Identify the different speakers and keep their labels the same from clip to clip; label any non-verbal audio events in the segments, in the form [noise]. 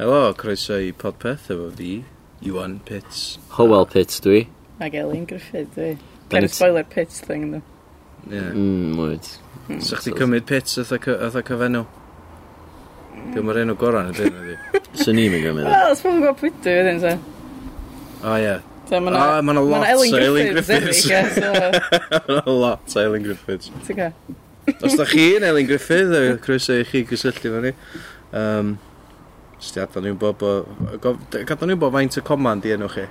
Speaker 1: Helo, croeso i podpeth efo fi, Iwan Pits.
Speaker 2: Howell Pits dwi.
Speaker 3: Mae Elin Griffith, dwi.
Speaker 2: Da
Speaker 3: Kind
Speaker 2: ni
Speaker 3: of
Speaker 2: t-
Speaker 3: spoiler pit thing, dwi.
Speaker 1: Yeah.
Speaker 2: Mm, mwyd.
Speaker 1: So chdi cymryd Pits atha, cy- atha cyfenw? Dwi'n mor enw goron y dyn ydi.
Speaker 2: So ni'n mynd gymryd. e.
Speaker 3: Wel, os mae'n gwybod pwy dwi wedyn, so.
Speaker 1: O ie.
Speaker 3: So mae
Speaker 1: Ah, ma' 'na lot o Elin Griffiths. [laughs]
Speaker 3: Griffiths.
Speaker 1: A lot o Elin Griffiths. [laughs]
Speaker 3: Ti'n ga?
Speaker 1: Os da chi yn Elin Griffith, yy, croeso i chi gysylltu fo ni. Um, Just i adon ni'n bod bo... gof- d- Gadon ni'n bod faint o comand i enw chi.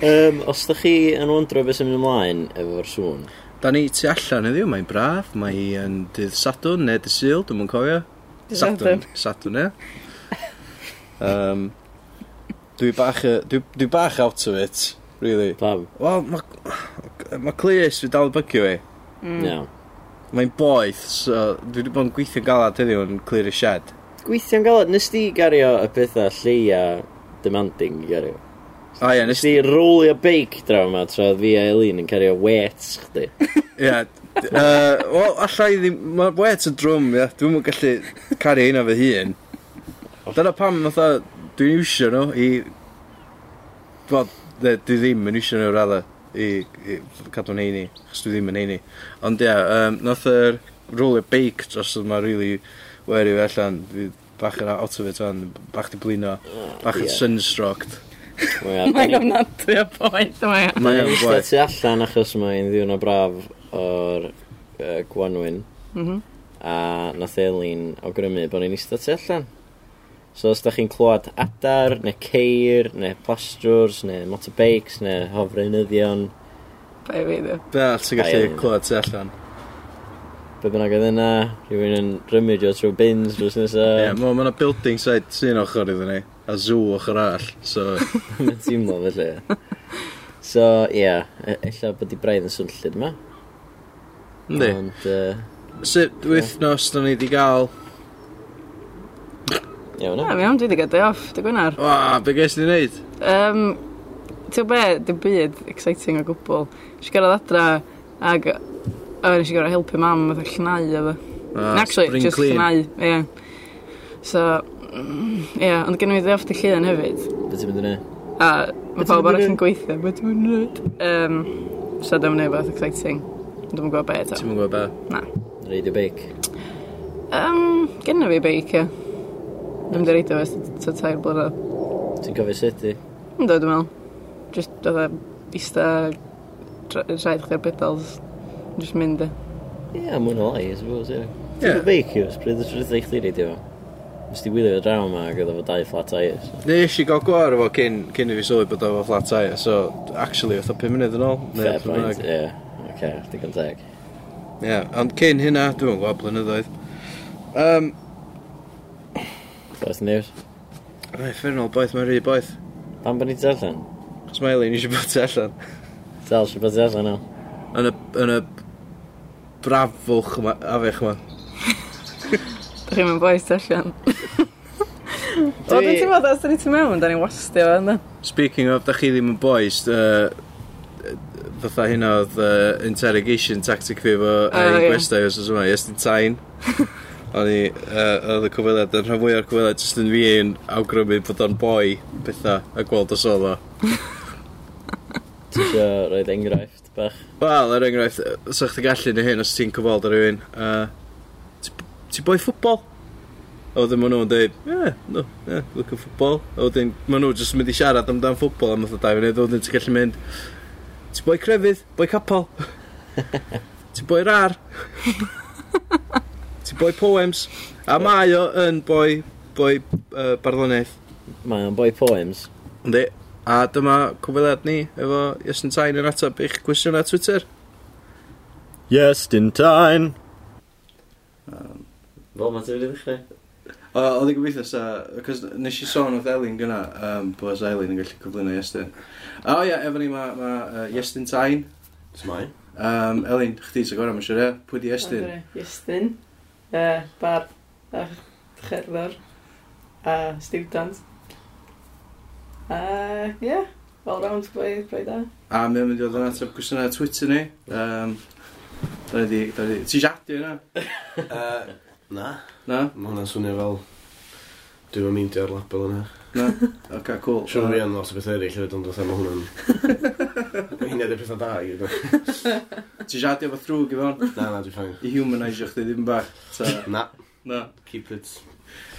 Speaker 2: Um, os da chi yn wondro beth sy'n mynd ymlaen efo'r sŵn,
Speaker 1: Da ni tu allan iddi, mae'n braf, mae'n dydd Sadwn neu dydd Sil, dwi'n mwyn cofio.
Speaker 3: Dydd
Speaker 1: Sadwn. Sadwn, ie. Um, dwi bach, yy, dwi, dwi bach out of it, really.
Speaker 2: pam?
Speaker 1: Wel, mae ma Cleus fi dal y bygio fi.
Speaker 2: Mm.
Speaker 3: [laughs]
Speaker 2: Iawn.
Speaker 1: Mae'n boeth, so dwi wedi bod yn gweithio galad heddiw yn clear y shed.
Speaker 2: Gweithio'n galad, nes di gario y pethau lleia demanding i gario.
Speaker 1: O ie,
Speaker 2: Nes
Speaker 1: nes i...
Speaker 2: di rolio beic draw yma tra oedd fi a Elin yn cario wets chdi.
Speaker 1: Ie. d- yy, Wel, allai ddim... Mae'r wet yn drwm, ie. Dwi'n mwyn gallu cario hynna fy hun. Dyna pam, fatha, dwi'n iwsio nhw i... Wel, ne, dwi ddim yn iwsio nhw radda i, i cadw'n heini. Chos dwi ddim yn heini. Ond ie, um, nath yr roller bake dros yma really weri fi allan. Dwi bach yn out of it fan, bach di blino, bach yn
Speaker 2: Ie.
Speaker 1: sunstrucked.
Speaker 3: Mae'n ofnadwy o boeth, mae'n.
Speaker 2: Mae'n
Speaker 1: Mae'n
Speaker 2: eistedd
Speaker 1: gwaith.
Speaker 2: tu allan achos mae'n ddiwrnod braf o'r uh, Gwanwyn.
Speaker 1: Mm-hmm.
Speaker 2: A nath Elin awgrymu bod ni'n eistedd tu allan. So os da chi'n clywed adar, neu ceir, neu plastrwrs, neu motorbikes, neu hofreinyddion,
Speaker 3: Bai fi, dwi.
Speaker 1: Be all ti'n
Speaker 2: Aye,
Speaker 1: gallu
Speaker 2: ie.
Speaker 1: clywed tu allan.
Speaker 2: be bynnag oedd yna, rhywun yn rymudio trwy bins drws nesaf,
Speaker 1: Ie, mae yna building site sy'n ochr iddyn ni, a zoo ochr all. So,
Speaker 2: [laughs] mae'n teimlo felly. So, ie, yeah, ella bod i braidd yn swnllid yma.
Speaker 1: yndi.
Speaker 2: Ond, uh,
Speaker 1: Sut wythnos da ni wedi gael?
Speaker 2: iawn,
Speaker 3: Na,
Speaker 2: na.
Speaker 3: mi am, dwi wedi gadael off, dy gwynar.
Speaker 1: Wa, be ges ni'n neud?
Speaker 3: Um, Ti'n be, dim byd exciting o gwbl. Nes i gyrraedd adra, ag... O, nes i gyrraedd helpu mam, fatha llnau efo.
Speaker 1: Ah,
Speaker 3: Actually,
Speaker 1: spring
Speaker 3: just
Speaker 1: clean.
Speaker 3: llnau, ie. So, mm, ie, ond gen i ddeall dy llun hefyd.
Speaker 2: Beth ti'n mynd i wneud?
Speaker 3: A mae
Speaker 2: Be' ti'n
Speaker 3: pawb
Speaker 2: mynd i
Speaker 3: arall yn
Speaker 2: neud?
Speaker 3: gweithio, beth dwi'n mynd. Um, so dwi'n mynd beth exciting. Dwi'n gwybod beth
Speaker 1: Ti'n
Speaker 3: eto.
Speaker 1: mwyn gwybod
Speaker 3: Na.
Speaker 2: Radio beic.
Speaker 3: Um, Gynna fi beic, ie. Dwi'n mynd i reid o fes, so tair blynedd.
Speaker 2: Ti'n cofio sut i?
Speaker 3: Yn dod, dwi'n meddwl. Just, dwi'n ista, dra- rhaid chdi'r pedals. Just mynd, e.
Speaker 2: Ie, yeah, mwyn o lai, I suppose, ie.
Speaker 1: Ie.
Speaker 2: Ti'n beic yw, sbryd y sryd eich ddiri, diwa. Nes di wylio draw yma ac oedd efo dau flat tires.
Speaker 1: be. Nes i gael gwar efo cyn, cyn i fi sylwi bod efo flat tire, so actually oedd o 5 munud yn ôl. neu
Speaker 2: Fair
Speaker 1: beth
Speaker 2: point,
Speaker 1: bynnag.
Speaker 2: ie. Oce, digon teg.
Speaker 1: Ie, ond cyn hynna, dwi'n mwyn gwybod blynyddoedd. Um,
Speaker 2: Beth news?
Speaker 1: Ai, ffernol boeth, mae'n rhy boeth.
Speaker 2: Pam bod ni ti allan?
Speaker 1: Os mae Eileen eisiau bod tu allan.
Speaker 2: Dal sy'n bod ti allan o.
Speaker 1: Yn y, yn y brafwch yma, afech yma.
Speaker 3: Dwi'n chi'n mynd boes
Speaker 2: [laughs]
Speaker 3: allan. O, dwi'n teimlo dda, os da ni ti mewn, da ni'n wastio fo, ynddo.
Speaker 1: Speaking of, da chi ddim yn boes, uh, fatha hynna oedd uh, interrogation tactic fi efo uh,
Speaker 3: O,
Speaker 1: ein
Speaker 3: ie.
Speaker 1: gwestai os oes yma, yes di tain. O'n i, uh, oedd y cyfweliad, yn rhan fwy o'r cyfweliad, jyst yn fi yn awgrymu bod o'n boi, pethau, a gweld os oedd o.
Speaker 2: Ti isio rhoi enghraifft bach?
Speaker 1: Wel, er enghraifft, yy, sa chdi gallu neu hyn os ti'n cyfweld ar rywun, uh, ti- ti boi ffwbol? A wedyn maen nhw'n dweud, yeah, no, yeah, look at ffwbol. A wedyn maen nhw'n just yn mynd i siarad amdan ffwbol am oedd dau funud, a wedyn ti'n gallu mynd, ti boi crefydd, boi capel, ti boi rar, ti boi poems, a mae o yn boi, boi uh, barddoniaeth.
Speaker 2: Mae o'n boi poems.
Speaker 1: Yndi, a dyma cwbeliad ni efo Iesyn Tain yn ateb i'ch cwestiynau Twitter.
Speaker 2: Yes, in time. Fel mae ti'n mynd i ddechrau?
Speaker 1: O, Oedd i'n gobeithio sa, cos nes i sôn oedd Elin gyna, um, bod Elin yn gallu cyflwyno Iestyn. O ia, efo ni mae ma, uh, Iestyn Tain.
Speaker 4: [laughs]
Speaker 2: Smai.
Speaker 1: Um, Elin, chdi sy'n gorau, mae'n siwr e, pwy di Iestyn?
Speaker 3: Iestyn. Uh, bar a cherddor. A student. A, ie. Yeah, all round gwaith, braidd da.
Speaker 1: A mae'n mynd i oedd yn ateb gwestiynau Twitter ni. Um, da ni di, da ni di, ti siadu yna?
Speaker 4: Na,
Speaker 1: Na?
Speaker 4: mae hwnna'n swnio fel... Dwi'n meindio ar label yna.
Speaker 1: Na. Oce, cool.
Speaker 4: Siwr fi yn lot o beth eraill hefyd, ond fatha mae hwnna'n... [laughs] Mae hynny ydy'r pethau da i gyd.
Speaker 1: Ti'n siarad efo thrwg i fewn?
Speaker 4: Na, na, dwi'n ffain.
Speaker 1: I humanise chdi ddim bach. Ta.
Speaker 4: Na,
Speaker 1: Na.
Speaker 4: keep it.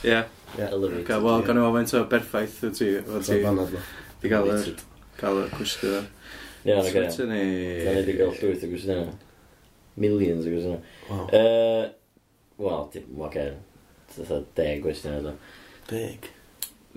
Speaker 1: Ie.
Speaker 2: Elevated.
Speaker 1: Oce, wel, gan i ofyn to berffaith o ti. O ti.
Speaker 4: Ti'n banad na.
Speaker 1: Di gael y... Gael y cwestiwn yna.
Speaker 2: Ie, na gael.
Speaker 1: Swyt
Speaker 2: Da ni
Speaker 1: ni.
Speaker 2: wedi cael llwyth o gwestiwn yna. Millions o gwestiwn
Speaker 4: Wow.
Speaker 2: yna. Wel, dim, oce. Dyna deg gwestiwn yna.
Speaker 4: Big.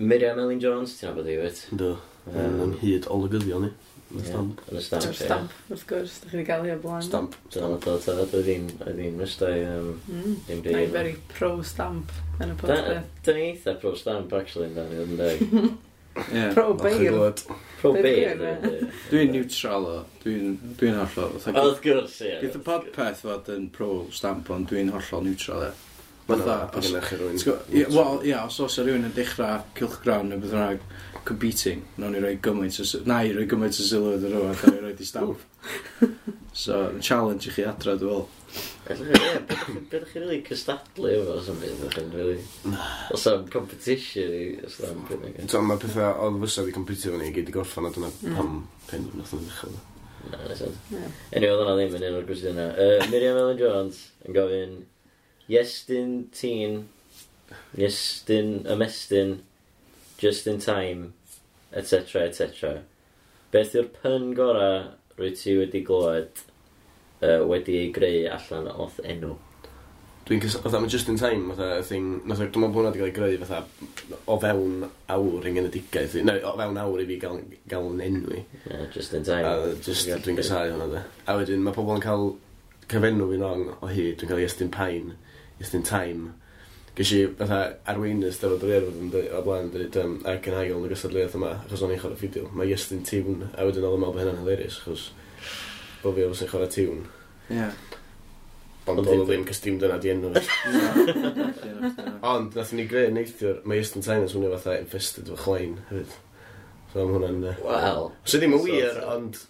Speaker 2: Miriam Elin Jones, ti'n abod i wyt?
Speaker 4: Do.
Speaker 2: Yym.
Speaker 4: Yn hyd olygyddio ni. Yn y stamp.
Speaker 2: Yn y
Speaker 3: Dim
Speaker 2: stamp, ie.
Speaker 3: stamp, wrth gwrs, dych chi wedi gael hi o blaen.
Speaker 4: Stamp.
Speaker 2: Dyna fod o, ta, dwi'n dwi'n rhestau, yym,
Speaker 3: Mm.
Speaker 2: dim
Speaker 3: Na i
Speaker 2: byd.
Speaker 3: very pro stamp yn y
Speaker 2: Da-
Speaker 3: podcast.
Speaker 2: Da ni eitha pro stamp, actually, yn dan i ddod yn deg.
Speaker 1: Ie.
Speaker 3: Pro
Speaker 4: Ach, chi'n
Speaker 3: beir.
Speaker 4: gwybod.
Speaker 2: Pro
Speaker 3: Be'
Speaker 2: beir,
Speaker 3: dwi'n gwneud?
Speaker 2: dwi'n
Speaker 1: Dwi'n neutral o. Dwi'n dwi'n hollol.
Speaker 2: O,
Speaker 1: fatha-
Speaker 2: Wrth gwrs, ie.
Speaker 1: Geith y podpeth fod yn pro stamp ond dwi'n hollol neutral e.
Speaker 4: Mae'n dda,
Speaker 1: Fatha,
Speaker 4: pan
Speaker 1: os-
Speaker 4: gynnwch chi rhywun.
Speaker 1: Ti'n gwbo- ie, Wel, ia, os oes rhywun yn dechrau cilchgrawn neu beth rhaid competing, nawn ni roi gymaint o... s- Na i roi gymaint o sylw iddyn nhw, a ni roi di stamp. So, challenge i chi adra, dwi'n fel.
Speaker 2: Allwch chi- ie, be' dach chi- be' dach chi'n rili cystadlu efo os am byd, dach chi'n rili... Os am competition i stamp yn ag.
Speaker 4: Tom, mae pethau oedd fysa wedi competio fan i gyd i gorffan a dyna pam pen nath o'n ddechrau.
Speaker 2: Na, nes oedd.
Speaker 3: Ie.
Speaker 2: Anyway, oedd hwnna ddim yn un o'r gwestiwn yna. Uh, Miriam Ellen Jones yn gofyn, Iestyn tîn, Iestyn ymestyn, just in time, etc, etc. Beth yw'r pun gorau rwy ti wedi glywed uh, wedi ei greu allan o'r enw?
Speaker 4: Dwi'n cys... Oedd am just in time, fatha, y thing... Nath o'n meddwl bod hwnna wedi cael ei greu, fatha, o fewn awr yng Nghenedigaeth. i- Neu, o fewn awr i fi gael, gael yn enwi.
Speaker 2: Uh, just in time.
Speaker 4: A just, dwi'n gysau hwnna, de. A wedyn, mae pobl yn cael cyfenw fi'n ong o hyd. Dwi'n cael Iestyn Pain, Iestyn Time. Ges i, fatha, arweinydd dyfod yr erfod yn dweud, o blaen, dweud, um, ac yn agil yn y gystadleuaeth yma, achos o'n i'n chwarae ffidio. Mae Iestyn Tiwn, a wedyn oedd yn meddwl bod hynna'n hilarious, achos bod fi oedd yn chwarae Tiwn.
Speaker 1: Ie.
Speaker 4: Ond oedd o ddim cysdim dyna di enw fi.
Speaker 1: Na.
Speaker 4: Ond, nath ni greu neithiwr, mae Eastern Time yn swnio fatha infested fy chlein hefyd. So am hwnna'n... yy,
Speaker 2: Wel,
Speaker 4: So ddim yn
Speaker 2: So-
Speaker 4: wir, ond...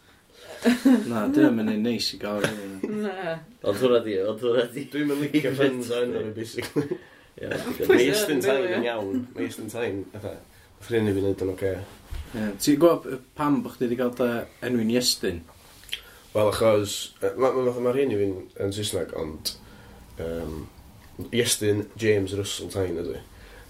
Speaker 1: Na, dyna mynd i'n neis i gael. rili.
Speaker 3: Na.
Speaker 2: ond hwnna di, ond hwnna di.
Speaker 4: Dwi'n mynd licio ffyns o'n o'n
Speaker 2: [laughs]
Speaker 4: basically.
Speaker 2: Ie,
Speaker 4: Mae
Speaker 3: Pwy sy'n
Speaker 4: Eastern
Speaker 3: yn
Speaker 4: Time
Speaker 3: delio?
Speaker 4: yn iawn. Mae Eastern Time, fatha. Nath rhywun i fi wneud yn oce.
Speaker 1: Ie. Ti'n gwybod pam bod chdi wedi cael dy enw'n Iestyn?
Speaker 4: Wel, achos... yy, ma- ma- Fatha mae rhywun i fi'n yn Saesneg, ond... yym, Eastern James Russell Time ydw i.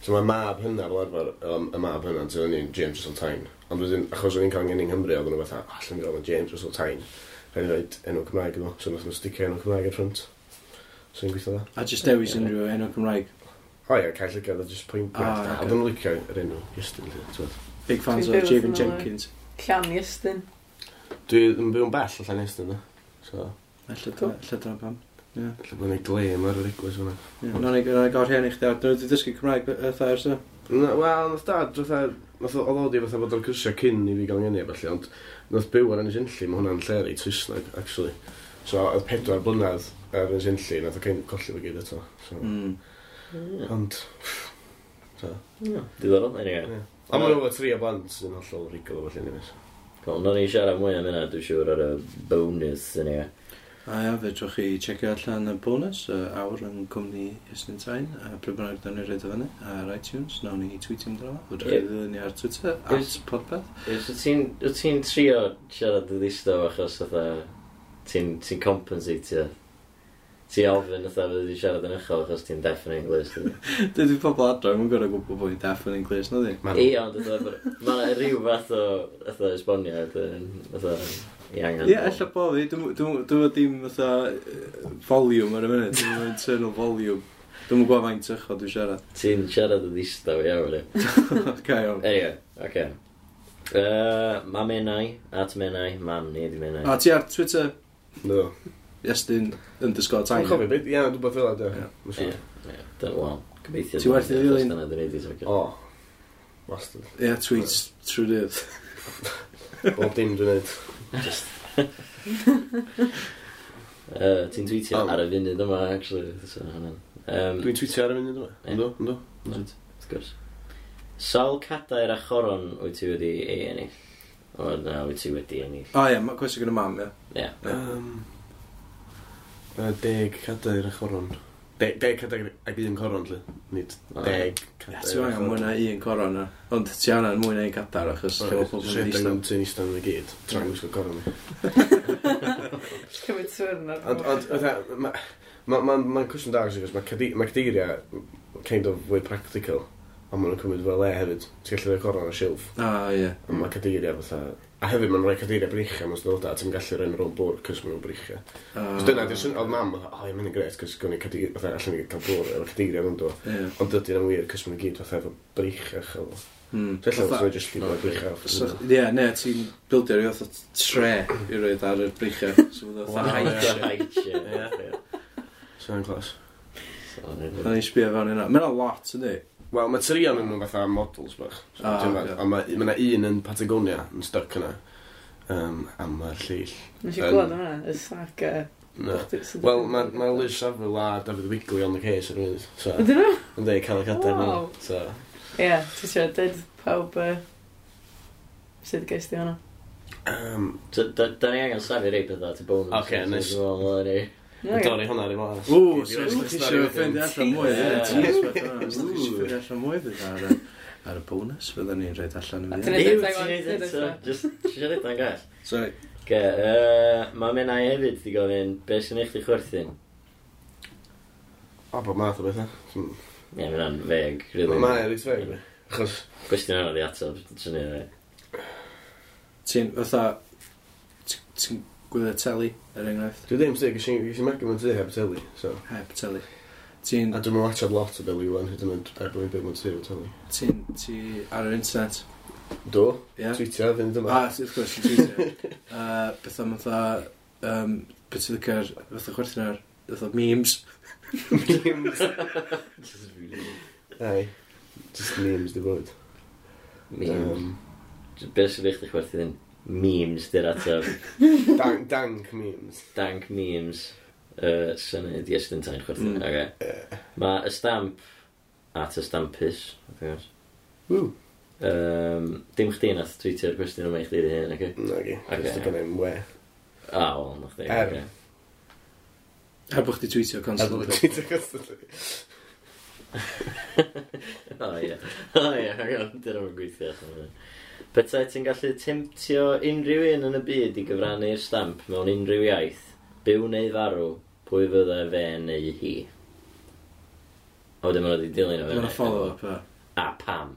Speaker 4: So mae mab hynna fel arfer, yym, y mab hynna, ti'n o'n i'n James Russell Tyne. Ond wedyn, achos o'n i'n cael ngeni yng Nghymru, oedd nhw fatha, allan mi roedd yn James Russell Tyne. Rhaid i roed enw Cymraeg iddo, so nath nhw sticio enw Cymraeg ar ffrant. So i'n gweithio dda.
Speaker 1: A just dewis unrhyw enw Cymraeg.
Speaker 4: O ia, cael llygad o just pwynt
Speaker 1: Ah,
Speaker 4: bwyd.
Speaker 1: ocê.
Speaker 4: A dwi'n licio yr enw, Iestyn, ti'n
Speaker 1: Big fans o Javen
Speaker 3: Dwi'n byw wrth yn ôl, ie.
Speaker 1: Jenkins.
Speaker 3: Llan Iestyn.
Speaker 4: Dwi yn byw'n bell allan Iestyn, na. So,
Speaker 1: Alla
Speaker 3: Cool.
Speaker 1: dyna pam.
Speaker 4: lle bod ni'n glem ar yr egwys hwnna.
Speaker 1: Nog ni gael rhen i chdi ar. Dyna wedi dysgu Cymraeg eitha ers o.
Speaker 4: Na, Wel, nath dad, fatha, nath o- oedd o di fatha bod o'r cyrsiau cyn i fi gael ngeni a felly, ond nath byw ar Ynys Enlli, mae hwnna'n lle reit Saesneg, actually. So, oedd pedwar blynedd ar Ynys Enlli, nath o cael colli fy gyd eto. So,
Speaker 2: Mm.
Speaker 1: Hmm.
Speaker 2: Ie.
Speaker 4: Ond,
Speaker 2: Diddorol, anyway.
Speaker 4: ie. A mae nhw efo tri o blant sy'n hollol rigol o felly ni fes.
Speaker 2: Cool, nawn ni siarad mwy am hynna, dwi'n siŵr ar y bonus yn ie.
Speaker 1: A ia, fe drwch chi checio allan y bonus y awr yn cwmni Iestyn Tain. A pryd bynnag dyna ni rhaid o fyny ar iTunes. Nawn ni tweetio amdano. Fod
Speaker 2: Ie.
Speaker 1: rhaid ddyn ni ar Twitter. At
Speaker 2: Yes.
Speaker 1: podpeth.
Speaker 2: Wyt ti'n wyt ti'n trio siarad y ddistaw achos fatha ti'n ti compensatio? Ti ofyn fatha fydd wedi siarad yn uchel achos ti'n deaf yn English. dydi?
Speaker 1: Dydw i pobl adra. Mae'n gorau gwybod bod ni'n deaf yn Inglis, na di?
Speaker 2: Ie, ond mae'n rhyw fath o fatha esboniad yn fatha i angen.
Speaker 1: Ie, ella bo fi. Dwi'n fod dim fatha yy, volume ar y funud. Dwi'n fod internal volume. Dwi'n gwybod faint ychwa dwi'n siarad. [laughs]
Speaker 2: Ti'n siarad y ddistaw iawn. ie.
Speaker 1: Ca iawn.
Speaker 2: Anyway, oce. Yy, Ma menai, at menai, mam ni di menai.
Speaker 1: A ti ar Twitter,
Speaker 4: No.
Speaker 1: Iestyn underscore
Speaker 4: Dwi'n
Speaker 1: Tain.
Speaker 4: cofio, beth, ie, dwi'n bod fel yna,
Speaker 1: Ie.
Speaker 4: ie.
Speaker 2: Ie, ie, dy- Wel, gobeithio.
Speaker 1: Ti werth i
Speaker 2: dyna-
Speaker 1: ddilyn?
Speaker 2: Dyna dwi'n neud i ti'n
Speaker 4: O, bastard.
Speaker 1: Ie, tweets trwy dydd.
Speaker 4: Bob dim
Speaker 2: [laughs]
Speaker 4: dwi'n neud. [laughs]
Speaker 2: Yy, Uh, Ti'n tweetio
Speaker 4: Am.
Speaker 2: ar y funud yma, actually. So, hwnna'n... Yym,
Speaker 4: Dwi'n tweetio ar y munud yma.
Speaker 2: Ie.
Speaker 4: Ynddo, ynddo.
Speaker 2: Right, wrth gwrs. Sawl cadair a choron wyt ti wedi ei ennill? O, na, wyt ti wedi ennill.
Speaker 1: O ie, mae cwestiwn gyda mam, ie.
Speaker 2: Ie.
Speaker 4: Ah, Um, yy, deg cadair a choron. De- Deg cadair ac un coron lly. Nid
Speaker 1: Ah.
Speaker 4: deg.
Speaker 1: Ia, ti'n angen mwy na un coron na. Ond ti angen mwy na un cadar, achos lle o pobl yn
Speaker 4: Rhedeg am
Speaker 1: eistedd.
Speaker 4: ti'n eistedd yn y gyd. Tra'n gwisgo coron ni.
Speaker 3: Cymryd swyrn ar
Speaker 4: Ond, ond, fatha, ma- ma- ma- mae'n cwestiwn da, achos mae cadi- mae cadeiria kind of way practical. Ond maen nhw'n cymryd fel le hefyd. Ti'n gallu rhoi coron ar y silff.
Speaker 1: O, ie.
Speaker 4: A mae cadeiria fatha... A hefyd mae'n rhoi cadeiria brichau mae'n dod a ti'n gallu rhaid rôl bwr cys mae'n brichau. Os dyna, di'r syniad oedd mam, fatha, o, ie, mae'n gret, cys gwni cadeiria, fatha, allan ni cael bwr efo cadeiria yn dod.
Speaker 1: Ie.
Speaker 4: Ond dydy'n yn wir, cys mae'n gyd fatha efo brichau chyl.
Speaker 1: Hmm.
Speaker 4: Felly,
Speaker 1: Fatha-
Speaker 4: os mae'n just llifo'r
Speaker 1: So,
Speaker 4: brichau.
Speaker 1: Ie, ne, ti'n bildio rhyw oedd tre i roed ar y brichau. So fydda
Speaker 4: Wow.
Speaker 1: fatha haid.
Speaker 4: So'n clas.
Speaker 1: Fydda ni'n sbio fewn yna. Mae'n lot, ydy.
Speaker 4: Wel, mae trion yn nhw'n fatha models bach. So,
Speaker 1: Ah,
Speaker 4: dwi'n
Speaker 1: ocê.
Speaker 4: meddwl. Ond mae ma un yn Patagonia yn stuck yna. Um, a mae'r lleill.
Speaker 3: Nes i glod yma, y saga.
Speaker 4: Na. Wel, mae ma Liz Saville a David Wigley on the case yn rhywbeth. So,
Speaker 3: Ydyn nhw?
Speaker 4: yn dweud cael y cadar nhw.
Speaker 3: Wow.
Speaker 4: So,
Speaker 3: Ie, ti'n siarad dyd pawb yy, sydd ges di hwnna.
Speaker 4: um,
Speaker 2: Da ni angen safi rei pethau to bonus.
Speaker 4: Ocê, nice.
Speaker 3: Ie.
Speaker 4: yn dorri hwnna ar ei flas.
Speaker 1: Ww, so os ydych chi eisiau ffeindio allan mwy,
Speaker 2: Ie.
Speaker 1: ie, ti'n sbio fewn yna. Os ydych chi eisiau ffeindio allan mwy, fydda ar y- ar y bonus, fydda ni'n rhaid allan yn
Speaker 3: A
Speaker 1: fydd.
Speaker 3: ti'n-
Speaker 2: Ew, ti'n neud eto. Just, ti'n neud eto'n gall.
Speaker 1: Sorry.
Speaker 2: Ge, yy, mae mynd i hefyd di gofyn, be sy'n eich di chwerthin?
Speaker 4: O, bod math o bethau.
Speaker 2: Ie, mae'n an feg, really.
Speaker 4: Mae'n reit feg. Chos,
Speaker 2: Gwestiwn yna di atab, ti'n neud e.
Speaker 1: Ti'n, fatha, t- ti'n gwylio teli, er enghraifft?
Speaker 4: dwi ddim sydd, gysi gysi magu mewn tu heb teli. So,
Speaker 1: Heb teli.
Speaker 4: a
Speaker 1: Ti'n,
Speaker 4: dwi'n mynd watchad lot o Billy Wan, hyd yn oed er bod fi'n byw mewn tu heb teli.
Speaker 1: ti'n, ti ar yr internet,
Speaker 4: Do,
Speaker 1: ie? Ah.
Speaker 4: tweetio, fynd yma.
Speaker 1: A, wrth gwrs, yn Twitter. Uh, Beth am fatha, um, beth sydd ydych ar, fatha chwerthin ar, fatha memes.
Speaker 4: Ai, just memes di bod.
Speaker 2: Memes.
Speaker 4: Um,
Speaker 2: Be sy'n eich di chwerthin? Memes di'r atab.
Speaker 4: Dank, dank memes.
Speaker 2: dank memes uh, syniad i estyn ta'n chwerthin.
Speaker 1: Mm.
Speaker 2: Mm. Okay. Mae y stamp at y stampus, of course.
Speaker 4: Ww.
Speaker 2: Um, dim chdi nath tweetio'r gwestiwn yma i chdi di hyn, okay?
Speaker 4: Na gi,
Speaker 2: Ocê.
Speaker 4: just yn ein we.
Speaker 2: Ah, wel, na chdi.
Speaker 4: Er.
Speaker 2: ocê.
Speaker 1: Heb o'ch di tweetio
Speaker 4: A dwi'n
Speaker 1: constantly.
Speaker 4: tweetio constantly.
Speaker 2: O, ie. O, ie, hang on, dyn nhw'n gweithio. allan fan hyn. Petai ti'n gallu temtio unrhyw un yn y byd i gyfrannu'r stamp mewn unrhyw iaith, byw neu farw, pwy fydda fe neu hi. O, wedyn maen nhw wedi dilyn o fe.
Speaker 1: Mae'n a follow-up, e.
Speaker 2: A pam,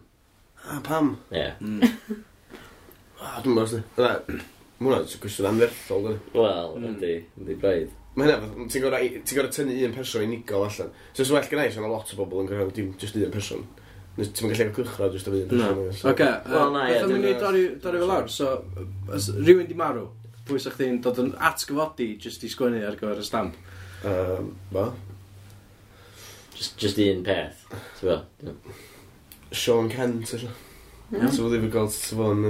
Speaker 4: A pam?
Speaker 2: ie. Yeah.
Speaker 1: Mm.
Speaker 4: A dwi'n mwyn [clears throat] mwyn. Mae hwnna'n gwestiwn anferthol, dwi.
Speaker 2: Wel,
Speaker 1: Mm.
Speaker 2: ydy, ydy braidd.
Speaker 4: Mae hynna, fatha, ti'n gorau ti gorau tynnu un person unigol allan. So, os well gynnau, sy'n lot o bobl yn gorau, dim just un person. Nes- Ti'n gallu cael cwchra, just o un
Speaker 1: No.
Speaker 4: person. so-
Speaker 1: Oce,
Speaker 2: Wel, na, ie,
Speaker 1: beth am i
Speaker 2: dwi'n-
Speaker 1: ni dorri dorri fel lawr? So, os rhywun di marw, pwy sa'ch chi'n dod yn atgyfodi jyst i sgwennu ar gyfer y stamp?
Speaker 4: Yym, Wel,
Speaker 2: Just, just un peth, ti'n fel?
Speaker 4: Sean Kent, ella.
Speaker 3: Mm.
Speaker 1: Iawn.
Speaker 4: So, fyddi fi gweld sy'n fo'n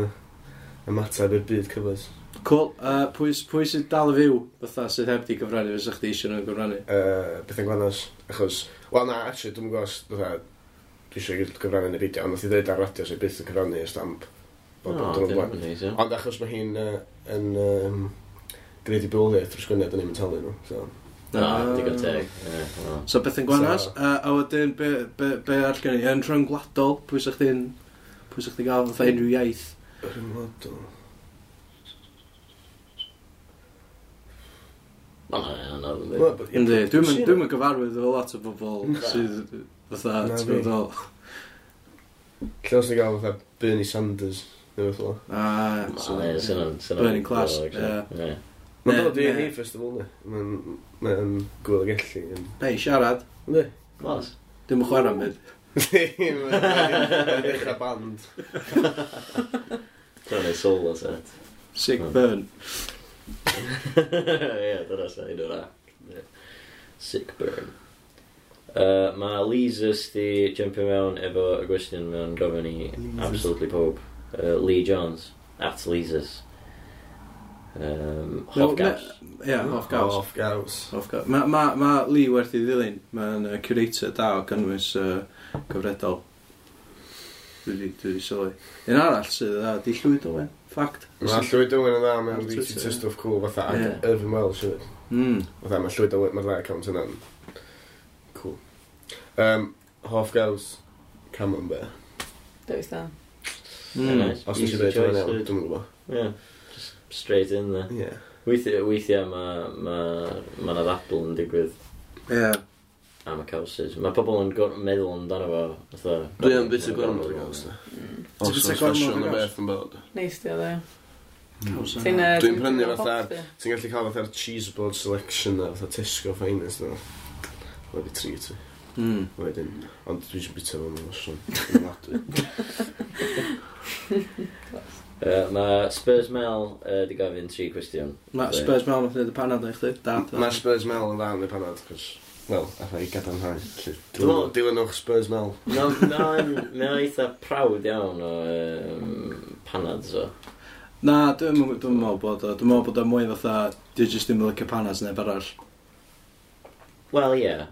Speaker 4: ymateb i'r byd cyfles.
Speaker 1: Cool. Uh, pwy s- pwy sydd dal y fyw, fatha, sydd heb di gyfrannu, fysa chdi eisiau nhw'n gyfrannu?
Speaker 4: uh, beth yn gwanas, achos, wel na, actually, dwi'n gwybod, dwi'n eisiau gyfrannu yn y fideo, ond nath i ddweud ar radio, so i byth yn cyfrannu y stamp. Bod
Speaker 2: O,
Speaker 4: bod yn
Speaker 2: dyn
Speaker 4: blaen.
Speaker 2: nhw'n neis, iawn.
Speaker 4: Ond achos mae hi'n uh, yn um, gwneud i bwliau drwy sgwynedd, yn ei talu nhw. So.
Speaker 2: O, digon teg. Ie, wel.
Speaker 1: So beth yn gwanas,
Speaker 4: So-
Speaker 1: uh, a wedyn be, be, be arall gen i, yn rhyngwladol, pwy sa'ch chi'n, pwy sa'ch chi'n gael fatha unrhyw iaith?
Speaker 4: Rhyngwladol.
Speaker 2: Wel, na, na, na, na.
Speaker 4: Wel, but-
Speaker 1: Ynddi, dwi'm yn-
Speaker 4: Sure.
Speaker 1: dwi'm yn gyfarwydd efo lot o bobl
Speaker 2: Na.
Speaker 1: sydd fatha,
Speaker 4: Na
Speaker 1: ti'n
Speaker 4: fi.
Speaker 1: meddwl,
Speaker 4: Lle os ni'n gael fatha Bernie Sanders, neu beth fel.
Speaker 1: a, so,
Speaker 2: Wel, ie, sy'n- sy'n-
Speaker 1: Burning class,
Speaker 2: Ie. Ie.
Speaker 4: Mae'n
Speaker 1: Ne-
Speaker 4: dod i
Speaker 1: ne.
Speaker 4: hei festival, ne? Mae'n ma gweld y gellu. yn-
Speaker 1: neu siarad,
Speaker 4: Yndi?
Speaker 2: Class.
Speaker 1: dim yn chwarae am byd.
Speaker 4: Mae'n dechrau band.
Speaker 2: Dyna ni solo set. [laughs]
Speaker 1: Sick
Speaker 2: Hmm.
Speaker 1: burn.
Speaker 2: Ie, dyna sy'n un o'r ac. Ie. Sick burn. Uh, mae Leesus di jumpio mewn efo y gwestiwn mewn gofyn i
Speaker 4: Leesus.
Speaker 2: absolutely pob. Uh, Lee Jones, at Leesus. Um,
Speaker 1: No,
Speaker 2: Hofgaws.
Speaker 1: me- Ie, off gaws.
Speaker 4: Off gaws.
Speaker 1: Off gaws. Ma- Ma ma Lee werth i ddilyn, mae'n uh, curator da o gynnwys uh, gyfredol. Dwi di- dwi di sylwi. Un arall sydd dda, di llwyd o we, fact.
Speaker 4: Mae Llywyd Owen yn dda, mae'n
Speaker 1: Ar
Speaker 4: rhaid i
Speaker 1: Twitter, ie.
Speaker 4: stuff cool, fatha,
Speaker 1: Ie.
Speaker 4: ac Irvin Welsh hefyd.
Speaker 1: Mm.
Speaker 4: Fatha, mae Llywyd Owen, mae'r dda account yna'n cool. Um, Hoff Gaws, Camembert.
Speaker 3: Dewis da.
Speaker 1: Hmm.
Speaker 2: Nice.
Speaker 4: Os
Speaker 2: Easy
Speaker 4: nes i ddweud hwnna,
Speaker 2: choice,
Speaker 4: dwi'n
Speaker 2: dude.
Speaker 4: gwybod.
Speaker 2: Yeah. Just straight in there.
Speaker 4: Ie.
Speaker 2: Weithiau, weithiau mae ma, ma na ddadl yn digwydd
Speaker 5: Ie.
Speaker 2: am y cawsys. Mae pobl yn gor- meddwl amdano fo. fatha-
Speaker 4: Dwi yn bit o gormod o gaws, da.
Speaker 5: Ti'n
Speaker 4: Os
Speaker 5: bita gormod
Speaker 4: oes
Speaker 5: o
Speaker 4: ffasiwn o
Speaker 5: gaws?
Speaker 4: beth yn bod.
Speaker 3: Neis di o dde.
Speaker 1: Ti'n...
Speaker 3: Ti'n, uh,
Speaker 4: Mm. Dwi'n
Speaker 3: ti'n
Speaker 4: prynu
Speaker 3: gweld box
Speaker 4: fatha-
Speaker 3: di?
Speaker 4: Ti'n gallu cael fatha'r cheeseboard selection na, fatha Tesco Finest na. Mae'n di treat fi.
Speaker 1: Hmm.
Speaker 5: Mm.
Speaker 4: Wedyn, ond dwi eisiau bita fo'n ymwysyn. Yn [laughs] ofnadwy.
Speaker 2: Yy, Mae Spurs Mel uh, di gofyn tri cwestiwn.
Speaker 1: Ma' Spurs Mel nath wneud y panad o'n i chdi. Dad.
Speaker 4: Mae Spurs Mel yn fan neu panad, cos... Wel, allai i gadarnhau. felly
Speaker 2: Dwi'n meddwl-
Speaker 4: dilyn- Dilynwch Spurs Mel.
Speaker 2: No, no, mae o eitha prawd iawn o um, panad so.
Speaker 1: Na, dwi'n mw- dwi'n meddwl bod o. Dwi'n meddwl bod o mwy fatha, dwi'n just ddim yn licio panas neu barall.
Speaker 2: Wel, ie. Yeah.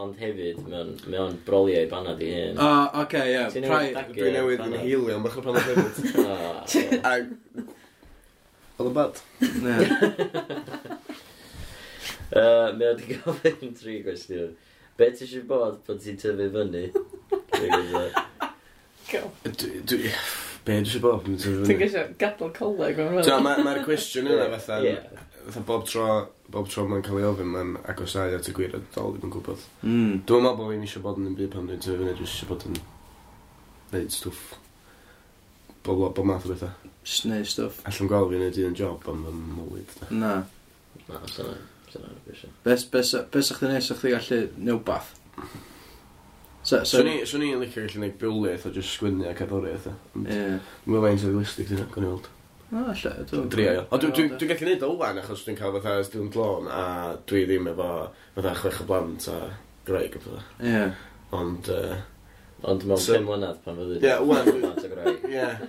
Speaker 2: Ond hefyd, mae o'n- mae o'n broliau panad i hyn.
Speaker 1: O, oce, ie.
Speaker 2: Ti'n
Speaker 1: Prai-
Speaker 2: newid
Speaker 4: Dwi newydd yn heilio am bach o panad [laughs] hefyd.
Speaker 2: hil.
Speaker 4: Ag... Oedd yn bad?
Speaker 1: ie.
Speaker 2: Mae o di gofyn tri cwestiwn. Be ti eisiau bod pan ti'n tyfu fyny? Dwi'n gwybod.
Speaker 3: Go.
Speaker 4: Dwi... dwi- Be, dwi eisiau bod? Dwi'n
Speaker 3: Ti'n gysio gadw coleg o'n
Speaker 4: Ti'n
Speaker 3: rhywbeth.
Speaker 4: mae'r cwestiwn yna fatha...
Speaker 2: Ie.
Speaker 4: Fatha bob tro... Bob tro mae'n cael ei ofyn, mae'n agosau at y gwir a dal ddim yn gwybod.
Speaker 1: Mm.
Speaker 4: Dwi'n meddwl bod fi'n eisiau bod yn un byd pan dwi'n tyfu fyny, dwi eisiau bod yn... Neud stwff. Bob lo- bob math o bethau.
Speaker 1: Just neud stwff.
Speaker 4: Allwn gweld fi'n neud un job am fy mywyd. de.
Speaker 1: Na.
Speaker 2: Na, syna. Syna'n gwestiwn.
Speaker 1: Bes, bes, bes o'ch chi'n neud, sa'ch chi gallu newbath? So, so...
Speaker 4: Swn i- swn i'n licio gallu gwneud biliaeth o jyst sgwynnu ac addori eitha.
Speaker 1: Ie.
Speaker 4: Mae'n fain sy'n realistig dyna, gwneud weld.
Speaker 1: Na, lle, dwi'n...
Speaker 4: Drio. O, dwi- dwi- dwi'n gallu neud o wan achos dwi'n cael fatha student loan a dwi ddim efo fatha chwech o blant a greig a fatha.
Speaker 1: Ie.
Speaker 4: Ond, yy,
Speaker 2: Ond mewn
Speaker 4: So-
Speaker 2: 5 mlynedd pan fyddi.
Speaker 4: Ie, wan, dwi-
Speaker 2: Lot o graig.
Speaker 1: [laughs]
Speaker 4: ie. Yeah.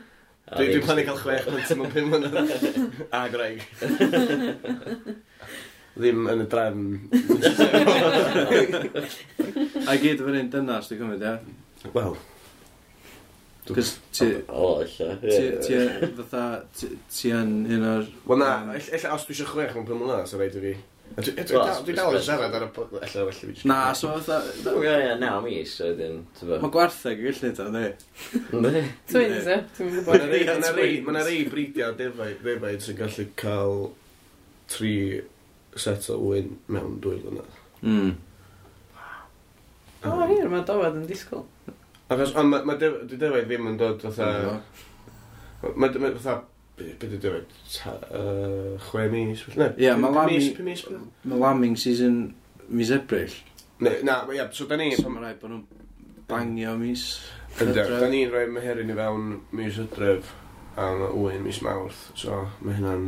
Speaker 4: Dwi- Dwi'n plannu cael chwech blant mewn pum mlynedd
Speaker 1: [laughs]
Speaker 4: a greig. [laughs] Ddim yn y drefn.
Speaker 1: A i gyd o fyny'n dynas, dwi'n cymryd, ie?
Speaker 4: Wel,
Speaker 1: Cos ti...
Speaker 2: O, illa.
Speaker 1: Ti ti yn fatha, ti- ti yn un o'r...
Speaker 4: wel na, ell- ella os dwi eisiau chwech mewn pum mlynedd, so rhaid i fi. A dwi- dwi-
Speaker 2: Wel,
Speaker 4: Dwi dal yn siarad ar y pod... Ella, well i fi.
Speaker 1: Na, so fatha...
Speaker 2: Dwi'n gael naw mis, wedyn, ti'n [laughs]
Speaker 1: Mae gwartheg yn gallu neud o, ne?
Speaker 2: bod?
Speaker 3: Twins, e? Ti'n
Speaker 4: Mae
Speaker 3: gwybod?
Speaker 4: yna rei- ma' 'na rei- ma' 'na rei bridio defaid, defaid sy'n gallu cael tri set o wyn mewn dwy flynedd.
Speaker 1: Mm.
Speaker 3: O, hir, mae dofod yn disgwyl.
Speaker 4: Achos, ond mae ma def, dwi defaid ddim yn dod fatha... Mae ma, fatha... Be be' 'di defaid? Ta- yy, Chwe mis? Ne,
Speaker 1: Ie, ma'
Speaker 4: pum
Speaker 1: lan
Speaker 4: mis,
Speaker 1: i-
Speaker 4: pum mis, pum-
Speaker 1: Mae lambing season mis Ebrill.
Speaker 4: Ne, na, ie, so da ni...
Speaker 1: So mae rhaid bod nhw'n bangio mis...
Speaker 4: Yndw,
Speaker 1: Hydref.
Speaker 4: Da ni'n rhoi meherin i fewn mis hydref a ma' wyn mis mawrth. So, mae hynna'n...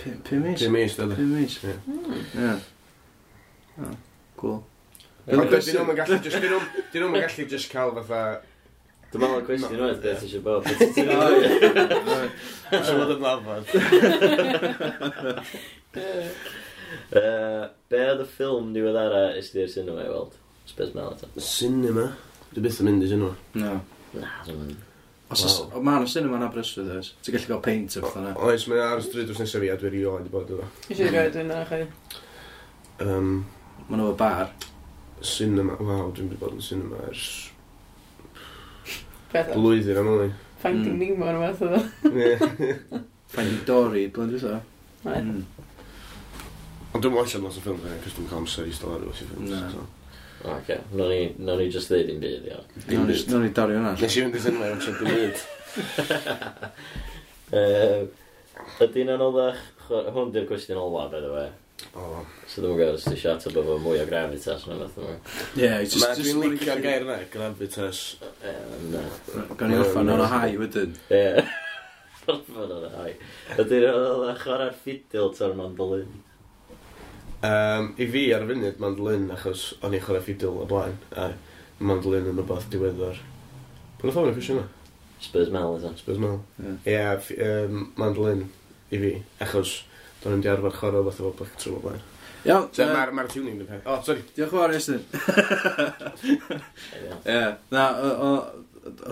Speaker 1: P- Pum mis?
Speaker 4: Pum mis, dydy.
Speaker 1: Pum mis?
Speaker 4: Ie.
Speaker 1: Ie. O, Cool.
Speaker 4: [laughs] Ond dyn nhw'n gallu just... Dyn nhw'n gallu just cael fatha...
Speaker 2: Dwi'n meddwl y cwestiwn
Speaker 4: Na.
Speaker 2: oedd beth
Speaker 4: Ie.
Speaker 2: eisiau bod. Beth ti'n
Speaker 1: O,
Speaker 2: gwneud? [laughs]
Speaker 1: ie.
Speaker 4: Dwi'n bod yn lafod.
Speaker 2: Yy, Be oedd y ffilm diweddara ysdi'r cinema i weld? Spes mel eto.
Speaker 4: Cinema? Dwi byth yn mynd i cinema.
Speaker 1: Na.
Speaker 2: Na, dwi'n
Speaker 1: Os oes...
Speaker 4: Wow.
Speaker 1: Mae'n cinema yn Aberystwyth, oes? Ti'n gallu cael paint o'r fatha na?
Speaker 4: Oes, mae'n ar stryd wrth nesaf i a dwi'n rioed i bod yma.
Speaker 3: Eisiau rhaid dwi'n yna, chai.
Speaker 4: Um,
Speaker 1: Mae nhw efo bar.
Speaker 4: cinema, waw, dwi'n wedi bod yn cinema ers
Speaker 3: Beth,
Speaker 4: blwyddyn am ymlaen. mm.
Speaker 3: Finding Nemo yn fath oedd.
Speaker 4: Ie.
Speaker 2: Hmm.
Speaker 1: Finding Dory, blynedd dwi'n
Speaker 3: Ie.
Speaker 1: Mm.
Speaker 4: Ond dwi'n watch lot o ffilm fe, cos dwi'n cael amser i stol ar wrth i ffilm.
Speaker 1: Na.
Speaker 4: so.
Speaker 2: Ok, no ni, no ni just ddeud un byd, [laughs] iawn.
Speaker 1: Nawn ni- nawn ni dario hwnna.
Speaker 4: Nes i fynd i cinema yw'n sy'n byd.
Speaker 2: Yy, Ydy'n anoddach, chw- hwn di'r cwestiwn ola, by the way.
Speaker 4: O.
Speaker 2: So dwi'n gwybod os ti eisiau ateb efo mwy o gravitas na beth yma.
Speaker 1: Ie, just...
Speaker 4: Ma,
Speaker 1: just-
Speaker 4: Dwi'n licio'r gair yna, gravitas.
Speaker 2: Na.
Speaker 1: Gawn ni orffan o'r hau wedyn.
Speaker 2: Ie. [laughs] Gorfod o'n hai. Ydy'n anoddach chwarae'r ffidil ta'r mandolin.
Speaker 4: Um, I fi ar y funud, mandolin, achos o'n i'n chwarae ffidil o blaen, a mandolin yn rhywbeth diweddar. Pwy'n y ffôn o'r cwestiwn yna?
Speaker 2: Spurs mel eto.
Speaker 4: Spurs Mel.
Speaker 1: Ie.
Speaker 4: Ie, f- yym, mandolin i fi, achos do'n i'n di arfer chwarae fath o black trwm o blaen.
Speaker 1: Iawn,
Speaker 4: So,
Speaker 1: yy,
Speaker 4: mae'r ma tuning yn peth. O, sori.
Speaker 1: diolch yn fawr Iestyn. Ie, na, o- o-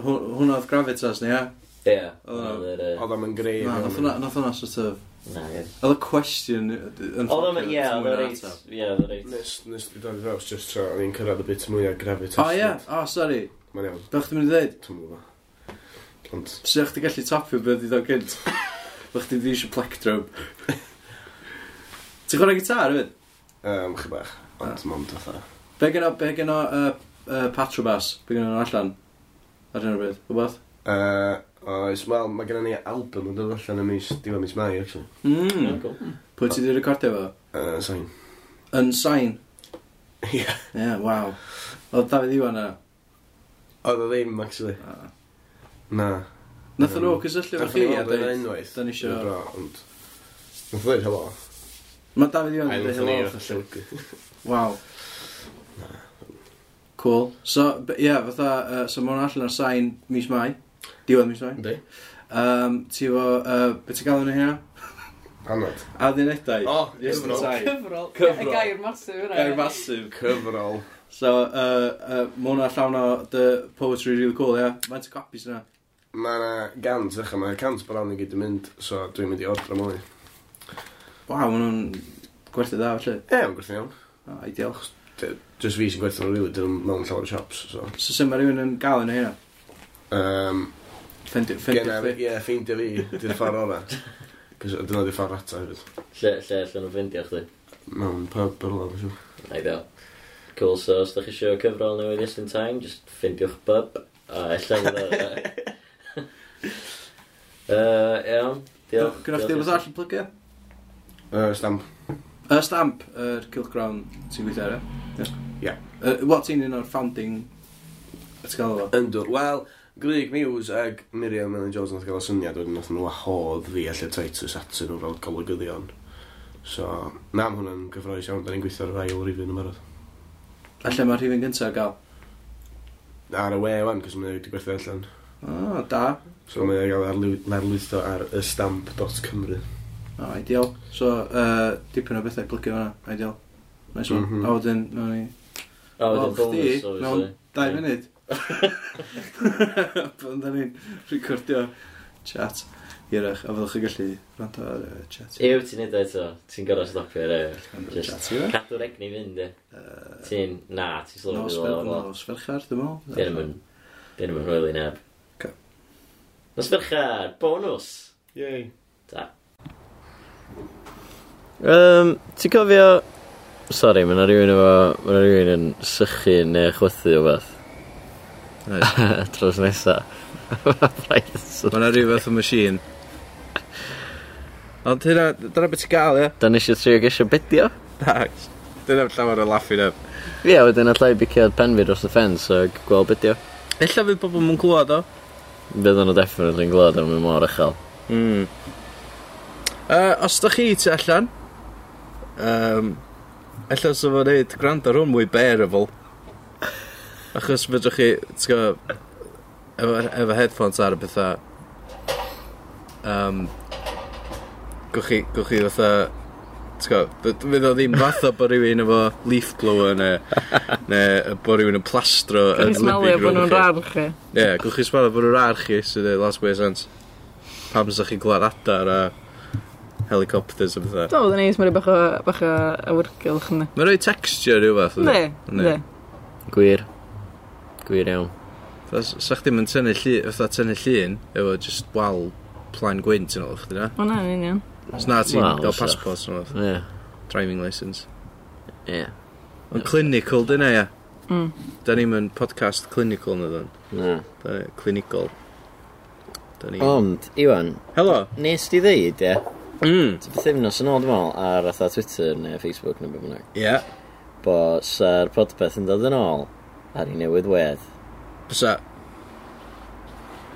Speaker 1: hw- hwnna oedd Gravitas ni, ie?
Speaker 2: Ie.
Speaker 1: Oedd hwnna-
Speaker 2: Oedd yr, yy,
Speaker 4: Oedd am yn greu.
Speaker 1: Na, nath hwnna- nath hwnna sort of
Speaker 2: Na, ie.
Speaker 6: Oedd y cwestiwn yn
Speaker 2: Oedd o'n, ie, oedd o'n reit,
Speaker 6: O,
Speaker 2: ie, oedd o'n reit.
Speaker 4: Nes, nes dwi dod i draws just tra, o'n i'n cyrraedd y bit mwy ar gravitas.
Speaker 6: ie, o, sori.
Speaker 4: Mae'n iawn,
Speaker 6: Be chdi'n mynd i ddeud?
Speaker 4: dwi'n gwybod. Ond,
Speaker 6: Sut eich di gallu topio beth i ddod
Speaker 2: [laughs]
Speaker 6: gynt? Be chdi di eisiau plectrum? Ti'n chwarae gitar, hefyd?
Speaker 4: um, chy bach, ond mond o tha.
Speaker 6: Be gyno, be gyno uh, uh, Patrobas? Be gyno nhw allan? Ar hyn o bryd, rhywbeth?
Speaker 4: Uh, oes, wel, mae gennym ni album yn dod allan y mis, diwedd mis mai, actually. Hmm.
Speaker 6: Mm.
Speaker 2: Cool.
Speaker 6: Pwy ti di recordio fo?
Speaker 4: Uh, sain. [laughs]
Speaker 6: Yn sain. Ie,
Speaker 4: Ie.
Speaker 6: yeah, waw. Oedd Dafydd Iwan yna.
Speaker 4: Oedd o ddim, actually.
Speaker 6: Ah.
Speaker 4: Na.
Speaker 6: Nathon nhw
Speaker 4: Mm.
Speaker 6: cysylltu efo
Speaker 4: Nathon
Speaker 6: chi
Speaker 4: ni
Speaker 6: a
Speaker 4: weld yn
Speaker 6: dweud.
Speaker 4: unwaith.
Speaker 6: "Dan ni isio-"
Speaker 4: yn bro, Ond... Nath ddweud helo.
Speaker 6: Mae Dafydd
Speaker 4: A
Speaker 6: Iwan wedi
Speaker 4: nath
Speaker 6: dweud
Speaker 4: ni
Speaker 6: helo.
Speaker 4: wrth y llwgu.
Speaker 6: Waw. Cool. So, b- ie, yeah, fatha, uh, so mae hwnna allan ar sain mis mai. Diwedd mis mai.
Speaker 4: Ynddi?
Speaker 6: Um, ti efo, uh, beth ti'n galw nhw hynna?
Speaker 4: Anod.
Speaker 6: Addunedau.
Speaker 4: O,
Speaker 6: Yes,
Speaker 4: cyfrol.
Speaker 6: tai.
Speaker 3: [laughs] Cyfrol.
Speaker 6: Cyfrol.
Speaker 3: Y gair masif yna.
Speaker 6: Gair masif.
Speaker 4: Cyfrol.
Speaker 6: So, uh, uh, mae hwnna llawn o the poetry really cool, ie. Yeah. Mae'n ti copies yna.
Speaker 4: Mae yna gant, ych, mae cant bron i gyd yn mynd, so dwi'n mynd i ordra mwy.
Speaker 6: Waw, mae nhw'n gwerthu da, felly.
Speaker 4: E, mae'n gwerthu'n iawn.
Speaker 6: O, ideal.
Speaker 4: D- Just fi sy'n gwerthu'n rili, dyn nhw mewn llawer o shops, so...
Speaker 6: So, sy'n mae rhywun yn galw nhw hynna?
Speaker 4: Um,
Speaker 6: Ffendio, ffendio.
Speaker 4: Gena fi, ie, ffeindio fi, di'r ffordd ora. Cos dyna di'r ffordd ata hefyd.
Speaker 2: Lle, lle, lle nhw'n ffindio chdi.
Speaker 4: Mewn pub ar ôl, dwi'n siŵr.
Speaker 2: Na, i ddeo. Cool, so os da chi eisiau cyfrol newydd yes in time, just ffindiwch bub. A ella fydd o...
Speaker 6: [laughs]
Speaker 2: Yy, Iawn, diolch.
Speaker 6: Gwna chdi beth allan plygio?
Speaker 4: Uh, stamp.
Speaker 6: Y stamp, yr Kilcrown, ti'n gweithio ar e?
Speaker 4: Ie.
Speaker 6: Yy, Wel, ti'n un o'r founding... Ydych gael o?
Speaker 4: Yndwr, wel, Greg Mewes ag Miriam Ellen Jones nath gael y syniad wedyn nath nhw wahodd fi allu Titus atyn nhw fel golygyddion. So, na, mae hwnna'n gyffroes iawn, da ni'n gweithio ar yr ail rifin ymarod.
Speaker 6: Alla mae'r rhywun gyntaf ar gael.
Speaker 4: Ar y we wan, cos mae'n wedi gwerthu allan.
Speaker 6: O, da.
Speaker 4: So, mae'n gael arlwy- arlwytho ar ystamp.cymru.
Speaker 6: O, ideal. So, uh, dipyn o bethau plygio fanna. Ideal. Nice one.
Speaker 4: Mhm.
Speaker 6: A wedyn, mewn ni...
Speaker 2: O,
Speaker 6: Wel,
Speaker 2: dwi'n bonus,
Speaker 6: chdi, mewn
Speaker 2: obviously.
Speaker 6: dau
Speaker 2: Ie.
Speaker 1: [laughs]
Speaker 6: munud. Pan da ni'n recordio chat hirach, a fyddwch chi'n gallu rando ar y chat.
Speaker 2: Ew, ti'n neud o eto. Ti'n gorau stopio re. Just
Speaker 6: Chat hirach.
Speaker 2: cadw'r egni fynd, e. Ti'n, na, ti'n
Speaker 6: Nos
Speaker 2: slyfod
Speaker 6: fer-
Speaker 2: fel o.
Speaker 6: nos ferchar, dwi'n
Speaker 2: Dyn nhw'n
Speaker 6: meddwl.
Speaker 2: mynd, dyn nhw'n hwyli neb.
Speaker 6: Oce.
Speaker 2: Nos ferchad, bonus!
Speaker 4: Yay.
Speaker 2: Da. Um, ti'n cofio... Sorry, mae yna rhywun efo... Mae yna rhywun yn sychu neu chwythu o beth.
Speaker 6: Nice.
Speaker 2: [laughs] Tros nesa. Rhaid yn sôn.
Speaker 1: Mae yna rhywbeth yn machine. Ond hynna, dyna beth ti'n gael, ie? [laughs]
Speaker 2: Da nes i trio gesio bedio.
Speaker 1: Na, dyna llawer o laughing up.
Speaker 2: Ie, wedyn allai biciad pen fi dros y ffens a gweld bedio.
Speaker 1: Ella fydd pobl mwyn clywed o.
Speaker 2: Bydd nhw definitely'n glod am mynd mor uchel.
Speaker 1: Mm. Uh, os da chi ti allan, um, ella sef o'n neud gwrando ar hwn mwy bearable. Achos fedrwch chi, ti'n gwybod, efo, efo headphones ar y bethau, um, gwch chi, gwch chi fatha, ti'n gwybod, fydd o ddim fatha bod rhywun efo leaf blower neu, neu bod rhywun yn plastro
Speaker 3: Dwi'n smelio bod nhw'n rar chi.
Speaker 1: Ie, yeah, gwch chi sbara bod nhw'n ar chi sydd ei last way of sense. Pam sy'ch chi glad adar a helicopters a bethau.
Speaker 3: Do, oedd yn neis, mae'n bach o, bach o awyrgylch yna.
Speaker 1: Mae'n rhoi texture rhywbeth.
Speaker 3: Ne,
Speaker 1: Ne.
Speaker 3: ne.
Speaker 2: Gwir. Gwir iawn.
Speaker 1: Sa'ch ddim yn tynnu llun, fatha tynnu llun, efo just wal plaen gwynt yn ôl chdi na.
Speaker 3: O na, yn union.
Speaker 1: Os na ti'n
Speaker 2: Wel,
Speaker 1: gael
Speaker 2: fysa.
Speaker 1: passport yn ôl,
Speaker 2: Ie.
Speaker 1: driving licence.
Speaker 2: Ie.
Speaker 1: Ond clinical, dyna ia.
Speaker 3: Mm.
Speaker 1: Da ni'n mynd podcast clinical na ddyn.
Speaker 2: Na.
Speaker 1: Da ni, clinical. Da ni...
Speaker 2: Ond, Iwan,
Speaker 1: Helo!
Speaker 2: nes di ddeud, ie,
Speaker 1: Mm.
Speaker 2: ti beth efnos yn ôl, dwi'n meddwl, ar atha Twitter neu Facebook neu beth bynnag,
Speaker 1: Ie.
Speaker 2: bo sa'r podpeth yn dod yn ôl ar ei newydd wedd.
Speaker 1: Bysa.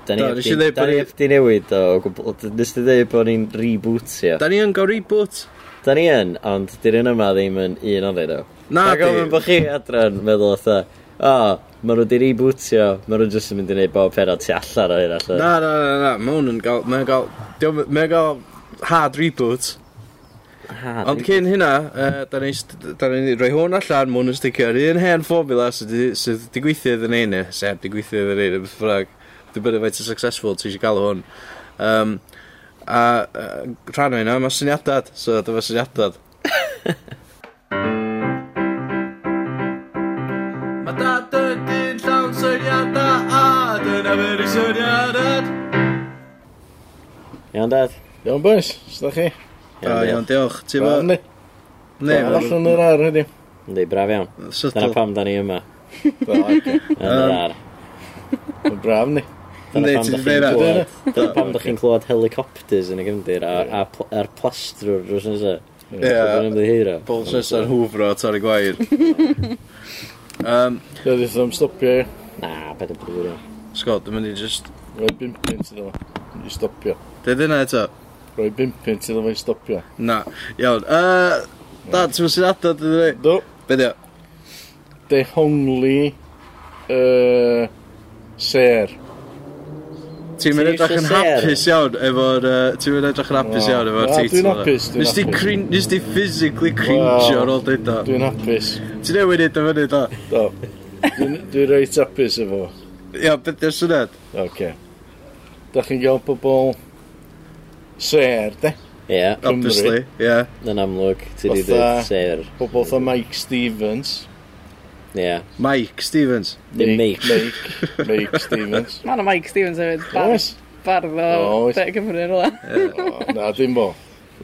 Speaker 2: Da ni
Speaker 1: Do,
Speaker 2: heb
Speaker 1: nes i
Speaker 2: di-
Speaker 1: ddeud
Speaker 2: da
Speaker 1: bod
Speaker 2: ni
Speaker 1: ni-
Speaker 2: heb di newid o gwbl. D- Nes di ddeud bod ni'n rebootio.
Speaker 1: Da ni yn gael reboot.
Speaker 2: Da ni yn, ond di'r un yma ddim yn un o ddeud o.
Speaker 1: Na
Speaker 2: Ac ofyn bod chi adran meddwl otha, o, maen nhw di rebootio, maen nhw jyst yn mynd i wneud bob pera tu allan o hyn allan.
Speaker 1: Na, na, na, na, mae hwn yn gael, mae'n gael, diom- mae'n gael hard reboot.
Speaker 2: Ha,
Speaker 1: Ond
Speaker 2: di-
Speaker 1: cyn hynna, uh, da ni'n da ni rhoi hwn allan, mae hwn yn sticio ar un hen formula sydd wedi- sydd di gweithio iddyn ein, sef di gweithio iddyn ein, beth ffrag. Dwi'n bydd faint yn successful, ti eisiau gael hwn. Um, A uh, rhan o hynna, mae syniadad. So,
Speaker 6: [laughs]
Speaker 1: dyma syniadad.
Speaker 6: Mae dad yn dyn llawn syniadau a dyna fyr i syniadad.
Speaker 2: Iawn, dad?
Speaker 7: Iawn boys, sydd chi?
Speaker 1: Da, iawn, diolch. Ti fo?
Speaker 7: Barn ni.
Speaker 1: Ne,
Speaker 7: Barn allan yr ar hynny.
Speaker 2: Ynddi, braf iawn. Dyna
Speaker 1: sytl.
Speaker 2: pam da ni yma.
Speaker 7: Da, oce.
Speaker 2: Yn yr ar.
Speaker 7: Mae'n braf ni.
Speaker 2: Dyna
Speaker 1: Yndi,
Speaker 2: pam
Speaker 1: ti di
Speaker 2: da chi'n
Speaker 1: deud
Speaker 7: hynna.
Speaker 2: clywed. Dyna pam da chi'n clywed helicopters yn y gymdir a'r a pl- a'r plastrwr drws nesaf.
Speaker 1: Ie.
Speaker 2: Dwi'n ymddiheuro.
Speaker 1: Bols nesa'r hwfro, torri gwair. um,
Speaker 7: Da di ddim stopio i.
Speaker 2: Na, beth y bwyd iawn.
Speaker 1: Scott, dwi'n mynd i just...
Speaker 7: Roi bimpin sydd yma. I stopio.
Speaker 1: Dweud yna eto?
Speaker 7: Roi bimpin sydd yma i stopio.
Speaker 1: Na. Iawn. Uh, Dad, ti'n syniadau, dwi'n dweud?
Speaker 7: Do,
Speaker 1: Be di o?
Speaker 7: dehongli... Uh, ser.
Speaker 1: Ti'n mynd
Speaker 2: Ti
Speaker 1: edrych yn
Speaker 2: isio ser?
Speaker 1: hapus iawn efo'r... Uh, ti'n mynd edrych yn hapus
Speaker 7: Wel,
Speaker 1: iawn efo'r
Speaker 7: wel,
Speaker 1: teitl.
Speaker 7: dwi'n
Speaker 1: yna.
Speaker 7: hapus, dwi'n
Speaker 1: Nes di
Speaker 7: hapus.
Speaker 1: crin- Nes di physically cringe
Speaker 7: Wel,
Speaker 1: o'r ôl dweud o.
Speaker 7: Dwi'n hapus.
Speaker 1: Ti'n newid i dyma ni, da.
Speaker 7: Do. Dwi'n dwi reit hapus efo. fo.
Speaker 1: Ia, beth di'r syniad?
Speaker 7: Oce. Da chi'n gael pobl... Ser, de?
Speaker 2: Ie,
Speaker 7: Cymru.
Speaker 1: Obviously, ie.
Speaker 2: yn amlwg. Ti di
Speaker 7: Fatha-
Speaker 2: dweud ser.
Speaker 7: Pobl fatha Mike Stevens.
Speaker 2: Ie.
Speaker 1: Mike Stevens.
Speaker 2: Dim Mike.
Speaker 7: Mike, Mike Stevens.
Speaker 3: Mae yna Mike Stevens hefyd, bardd
Speaker 7: Oes?
Speaker 3: bardd o
Speaker 7: Oes.
Speaker 3: De Cymru e. yn rola.
Speaker 7: O, Na, dim bo.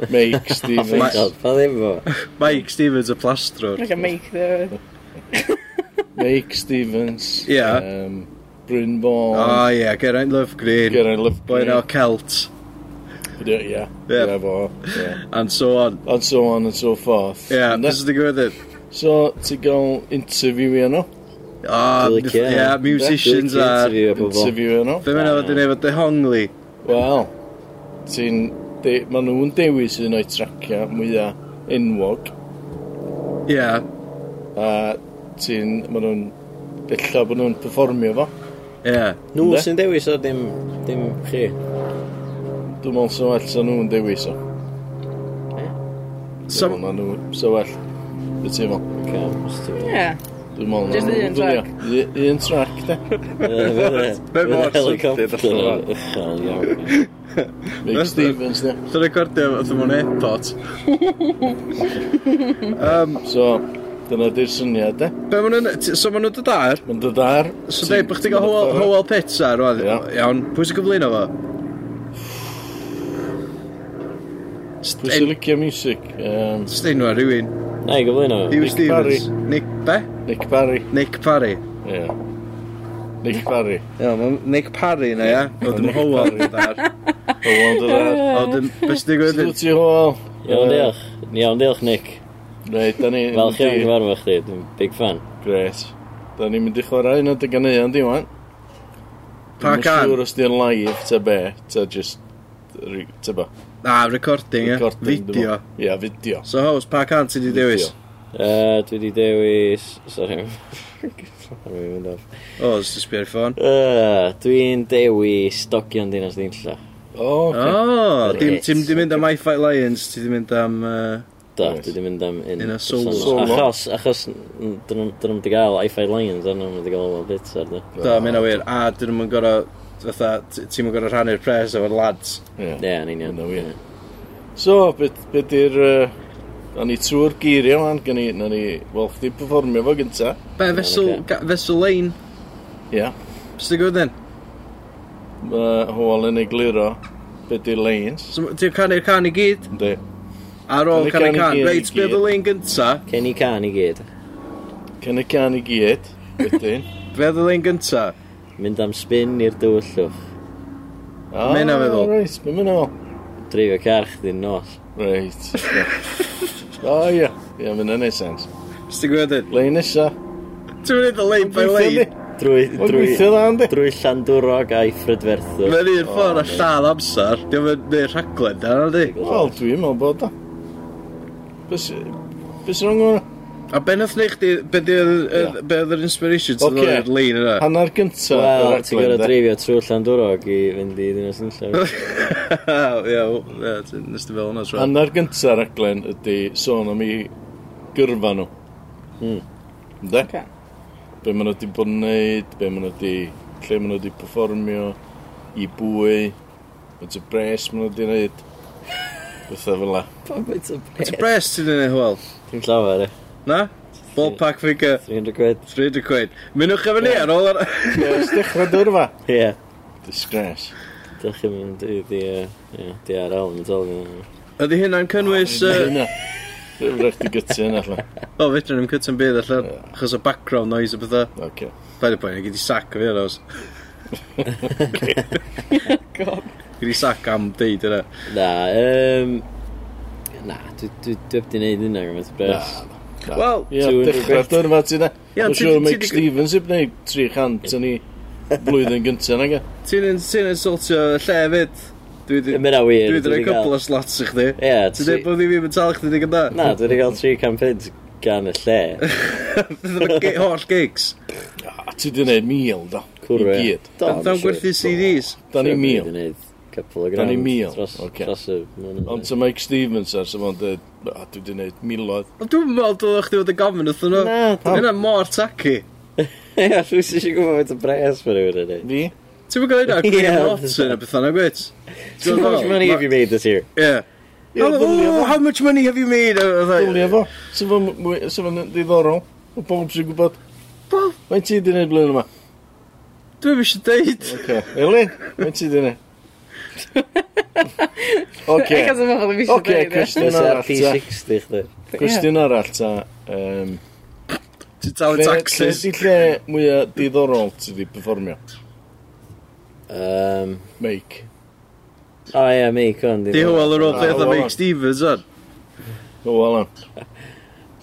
Speaker 7: Mike
Speaker 2: Fuck
Speaker 7: Stevens.
Speaker 2: God, Pa ddim fo?
Speaker 1: Mike Stevens y plastrwr.
Speaker 3: Mae'n Mike ddi hefyd.
Speaker 7: Mike Stevens.
Speaker 1: Ie.
Speaker 7: Um, Bryn
Speaker 1: O
Speaker 7: Bourne.
Speaker 1: ie, Geraint Lovegreen.
Speaker 7: Geraint Love.
Speaker 1: Boy now Celt.
Speaker 7: Ie, ie.
Speaker 1: Ie.
Speaker 7: Ie, fo. Ie.
Speaker 1: And so on.
Speaker 7: And so on and so forth.
Speaker 1: Ie,
Speaker 7: Ynde?
Speaker 1: beth sydd wedi gwybod
Speaker 7: So, ti gael interview i nhw.
Speaker 1: O,
Speaker 2: Dwi'n licio.
Speaker 1: ie, Ah, musicians
Speaker 2: Dwi'n
Speaker 1: a...
Speaker 2: interview o bobl.
Speaker 7: Interview i nhw.
Speaker 1: Be mae'n efo dyn efo dehongli?
Speaker 7: Wel, ti'n... de- Ma nhw'n dewis un o'i tracia mwyaf enwog.
Speaker 1: Ie,
Speaker 7: A ti'n... Ma nhw'n... Ella bod nhw'n performio fo.
Speaker 1: ie.
Speaker 2: Nhw
Speaker 7: Ynde?
Speaker 2: sy'n dewis o dim, dim chi.
Speaker 7: Dwi'n meddwl sy'n well sa nhw'n dewis o.
Speaker 1: So,
Speaker 7: Dwi'n meddwl ma' nhw- sy'n well. Dwi'n meddwl.
Speaker 2: Oce, os ti fo.
Speaker 3: Ie.
Speaker 7: Dwi'n meddwl...
Speaker 3: Jyst
Speaker 7: na-
Speaker 3: un
Speaker 7: dwi'n meddwl- Un track, de.
Speaker 1: Be mor
Speaker 2: e. Fydd y helicopter
Speaker 1: swnllyd allan.
Speaker 2: yn uchel iawn.
Speaker 7: Mick Stevens, de.
Speaker 1: Dwi'n recordio oedd mewn airport.
Speaker 7: So, dyna di'r syniad, de.
Speaker 1: Be maen nhw'n... ti- So maen nhw'n dod ar?
Speaker 7: Mae'n dod ar...
Speaker 1: So dweud bod chdi gael Howell Howell Pizza rwan.
Speaker 7: Ie.
Speaker 1: Iawn, pwy sy'n gyflwyno fo?
Speaker 7: Pwy sy'n
Speaker 1: Stein-
Speaker 7: licio music? Um,
Speaker 1: Steinwa rhywun.
Speaker 2: Na i gyflwyno.
Speaker 1: Hugh
Speaker 7: Nick
Speaker 1: Stevens. Nick Be?
Speaker 7: Nick Parry.
Speaker 1: Nick Parry.
Speaker 7: Yeah. Nick Parry.
Speaker 1: Iawn, ma'n Nick Parry na ia. Oedd yn
Speaker 7: Nick
Speaker 1: Howell yn dar.
Speaker 7: Hwyl dod ar.
Speaker 1: Oedd yn... Beth sy'n
Speaker 7: Sut
Speaker 1: gwybod?
Speaker 7: wyt ti hwyl?
Speaker 2: Iawn, diolch. Iawn, diolch, Nick.
Speaker 7: Reit, da ni...
Speaker 2: Fel chi o'n gyfarfod chdi, dwi'n big fan.
Speaker 7: Gret. Da ni'n mynd i chwarae un o dy ganeuon, di wan.
Speaker 1: Pa
Speaker 7: Dwi'n
Speaker 1: can?
Speaker 7: siŵr os di'n live, ta be. Ta just... ry- Ta ba.
Speaker 1: Na, Ah, recording ia.
Speaker 7: Recording, dwi'n
Speaker 1: Video.
Speaker 7: meddwl. Ie, video.
Speaker 1: So host, pa can ti di dewis?
Speaker 2: Uh, dwi di dewis... Sorry. Sorry, mynd off.
Speaker 1: O, os ti'n sbio'r ffôn.
Speaker 2: Uh, dwi'n dewis Dogion Dinas Dinlla.
Speaker 7: O, oce.
Speaker 1: O, Oh, dim-
Speaker 2: Reit.
Speaker 1: ti'n di mynd am My Fight Lions, ti di mynd am... uh, yy,
Speaker 2: Do,
Speaker 7: Nice.
Speaker 2: dwi di mynd am un
Speaker 1: Un o
Speaker 2: person.
Speaker 1: solo.
Speaker 2: Achos, achos, n- dyn nhw'n dyn nhw'm di gael Hi-Fi Lions, dyn nhw'n di gael Owl Bits ar dy.
Speaker 1: Da, mae'n awyr. A dyn nhw'n gorau, fatha, t- ti'n gorau rhannu'r pres efo'r lads.
Speaker 7: Ie.
Speaker 2: Ie, yn union.
Speaker 7: Yn wir. So, beth be di'r... Uh, da ni trwy'r geiriau, man. Gan ni... Na ni... Wel, chdi performio fo gynta.
Speaker 1: Be, fesel,
Speaker 2: ocê.
Speaker 1: ga- fesel lein,
Speaker 7: Ie.
Speaker 1: sydd gwybod then?
Speaker 7: Mae Hwyl yn egluro be di'r lanes.
Speaker 1: So, ma- ti'n canu'r can i gyd,
Speaker 7: Ynddi.
Speaker 1: ar ôl
Speaker 7: Canu
Speaker 1: canu'r
Speaker 7: can i
Speaker 1: can.
Speaker 7: gyd,
Speaker 1: Reit,
Speaker 7: i
Speaker 1: be oedd y
Speaker 7: gyd.
Speaker 1: lein gynta?
Speaker 2: Ken i can i gyd.
Speaker 7: Can y can i gyd. Wedyn.
Speaker 1: Be oedd y lein gynta?
Speaker 2: Mynd am spin i'r dywyllwch.
Speaker 1: [laughs]
Speaker 7: Ah,
Speaker 1: Mae hynna feddwl.
Speaker 7: Reit, mae'n meddwl.
Speaker 2: Dreifio car chdi'n nos.
Speaker 7: Reit.
Speaker 1: [laughs]
Speaker 7: O ie. Ie, mae'n neud sens.
Speaker 1: Sydd gwybod then?
Speaker 7: Lein nesa.
Speaker 1: Ti'n mynd y lein by lein?
Speaker 2: Drwy,
Speaker 7: Mae'n
Speaker 2: drwy,
Speaker 7: gweithio dda, ynddi?
Speaker 2: drwy Llandwrog a'i Phrydferthwch.
Speaker 1: Mae'n un ffordd a lladd amser. Dwi'n mynd neu rhaglen, da, na di?
Speaker 7: Wel, dwi'n meddwl bod o. Bys... Bys rong o'n...
Speaker 1: A ben oedd neu chdi, be di oedd- oedd- be oedd yr inspiration sydd
Speaker 7: Ocê.
Speaker 1: oedd yr lein yna?
Speaker 7: Hannar gynta.
Speaker 2: Wel, ti'n gwybod dreifio trwy Llandwrog i fynd i ddinas nillaf.
Speaker 1: Ie, wel, ie, ti'n- nes ti fel hwnna tro.
Speaker 7: Hannar gynta raglen ydy sôn am i gyrfa nhw. Hmm. De?
Speaker 3: Ocê.
Speaker 7: Be maen nhw wedi bod yn neud, be maen nhw wedi... Lle maen nhw wedi performio, i bwy, Faint o bres maen nhw wedi gwneud. Fytha fel la.
Speaker 2: Pam beth o
Speaker 1: Ti'n
Speaker 2: beth?
Speaker 1: bres ti'n ei wel?
Speaker 2: Ti'n llawer, e?
Speaker 1: Na? Ballpark figure,
Speaker 2: 300 quid.
Speaker 1: 300 quid. Mynwch efo ni ar ôl ar...
Speaker 7: Yes, dechrau dyrfa.
Speaker 2: Ie.
Speaker 7: Disgrace.
Speaker 2: Dych chi'n mynd i ddi... Ie, di ar al yn dod.
Speaker 1: Ydy hynna'n cynnwys... yy,
Speaker 7: Hynna. Dwi'n rhaid i gytu hynna allan.
Speaker 1: O, fedrwn ni'n cytyn byd allan. Achos o background noise a bethau.
Speaker 7: Oce.
Speaker 1: Paid y pwynt, gyd i sac o fi ar os. Gyd i sac am deud yna.
Speaker 2: Na, yym... Na, dwi dwi- dwi heb di wneud hynna gymaint o bres.
Speaker 1: Wel,
Speaker 7: Ie,
Speaker 2: 200
Speaker 7: dechrau dyrfa ti na.
Speaker 1: Ie,
Speaker 7: Dwi'n
Speaker 1: ti-
Speaker 7: siŵr
Speaker 1: ti-
Speaker 7: Mike
Speaker 1: ti-
Speaker 7: Stevens heb wneud 300 yn ei blwyddyn gyntaf nag e.
Speaker 1: ti'n yn- ti'n insultio lle fyd. Dwi
Speaker 2: Yy,
Speaker 1: wedi...
Speaker 2: Ma' hynna wir.
Speaker 1: Dwi wedi rhoi
Speaker 2: wedi cael-
Speaker 1: cwpl o slots i chdi.
Speaker 2: Ie,
Speaker 1: Ti'n dweud bod fi ddim yn talu chdi ddim gyda?
Speaker 2: Na, dwi wedi cael 3 campaigns gan y
Speaker 1: [laughs]
Speaker 2: lle.
Speaker 1: Dwi'n holl gigs.
Speaker 7: A ti di wneud mil da.
Speaker 2: Cwrw,
Speaker 7: I
Speaker 2: ie.
Speaker 7: gyd.
Speaker 2: Do,
Speaker 1: Dwi'n
Speaker 2: siŵr.
Speaker 1: gwerthu CDs.
Speaker 7: Da ni
Speaker 2: Siŵr
Speaker 7: mil.
Speaker 2: Dwi wedi wneud couple o
Speaker 7: Da
Speaker 2: grand.
Speaker 7: ni mil,
Speaker 2: Dros,
Speaker 7: ocê.
Speaker 2: dros y...
Speaker 7: Ond ta Mike Stevens ar sy'n fawr a dwi wedi wneud miloedd.
Speaker 1: Ond Dwi'n meddwl dylech chi fod yn gofyn wrthyn nhw.
Speaker 2: Na, [laughs]
Speaker 1: Mae Hynna mor tacky.
Speaker 2: Ie, rwy'n sy'n gwybod beth o bres fyr yw'n hynny.
Speaker 7: Fi?
Speaker 1: Ti'n mynd gael hynna?
Speaker 2: Ie.
Speaker 1: Graham Watson a bethau na gwyt?
Speaker 2: How much money have you made this year?
Speaker 1: Yeah.
Speaker 7: Ie, ddylia fo.
Speaker 1: How much money have you made? A fatha-
Speaker 7: Dwlia fo. Sy'n fawr mwy- sy'n fawr ddiddorol. O bob sy'n gwybod.
Speaker 1: Wel,
Speaker 7: Mae'n ti di wneud blwyddyn yma.
Speaker 1: Dwi'n mysio deud.
Speaker 7: Oce. Eli? Mae'n ti di wneud. Oce.
Speaker 3: Ac as ymwneud fi e.
Speaker 7: Oce, cwestiwn
Speaker 2: Dwi'n ar P60
Speaker 7: arall ta.
Speaker 2: chdi.
Speaker 7: Cwestiwn arall ta. Yym,
Speaker 1: Ti'n talu
Speaker 7: Lle lle
Speaker 1: taxes.
Speaker 7: ydi lle mwyaf diddorol ti di performio?
Speaker 2: Um,
Speaker 7: Meic.
Speaker 2: o ie, mi, con.
Speaker 1: Di hwyl yr o'r
Speaker 7: Ah,
Speaker 1: peth
Speaker 7: wel,
Speaker 1: am
Speaker 7: wel.
Speaker 1: Mike Stevens on.
Speaker 7: O, wala.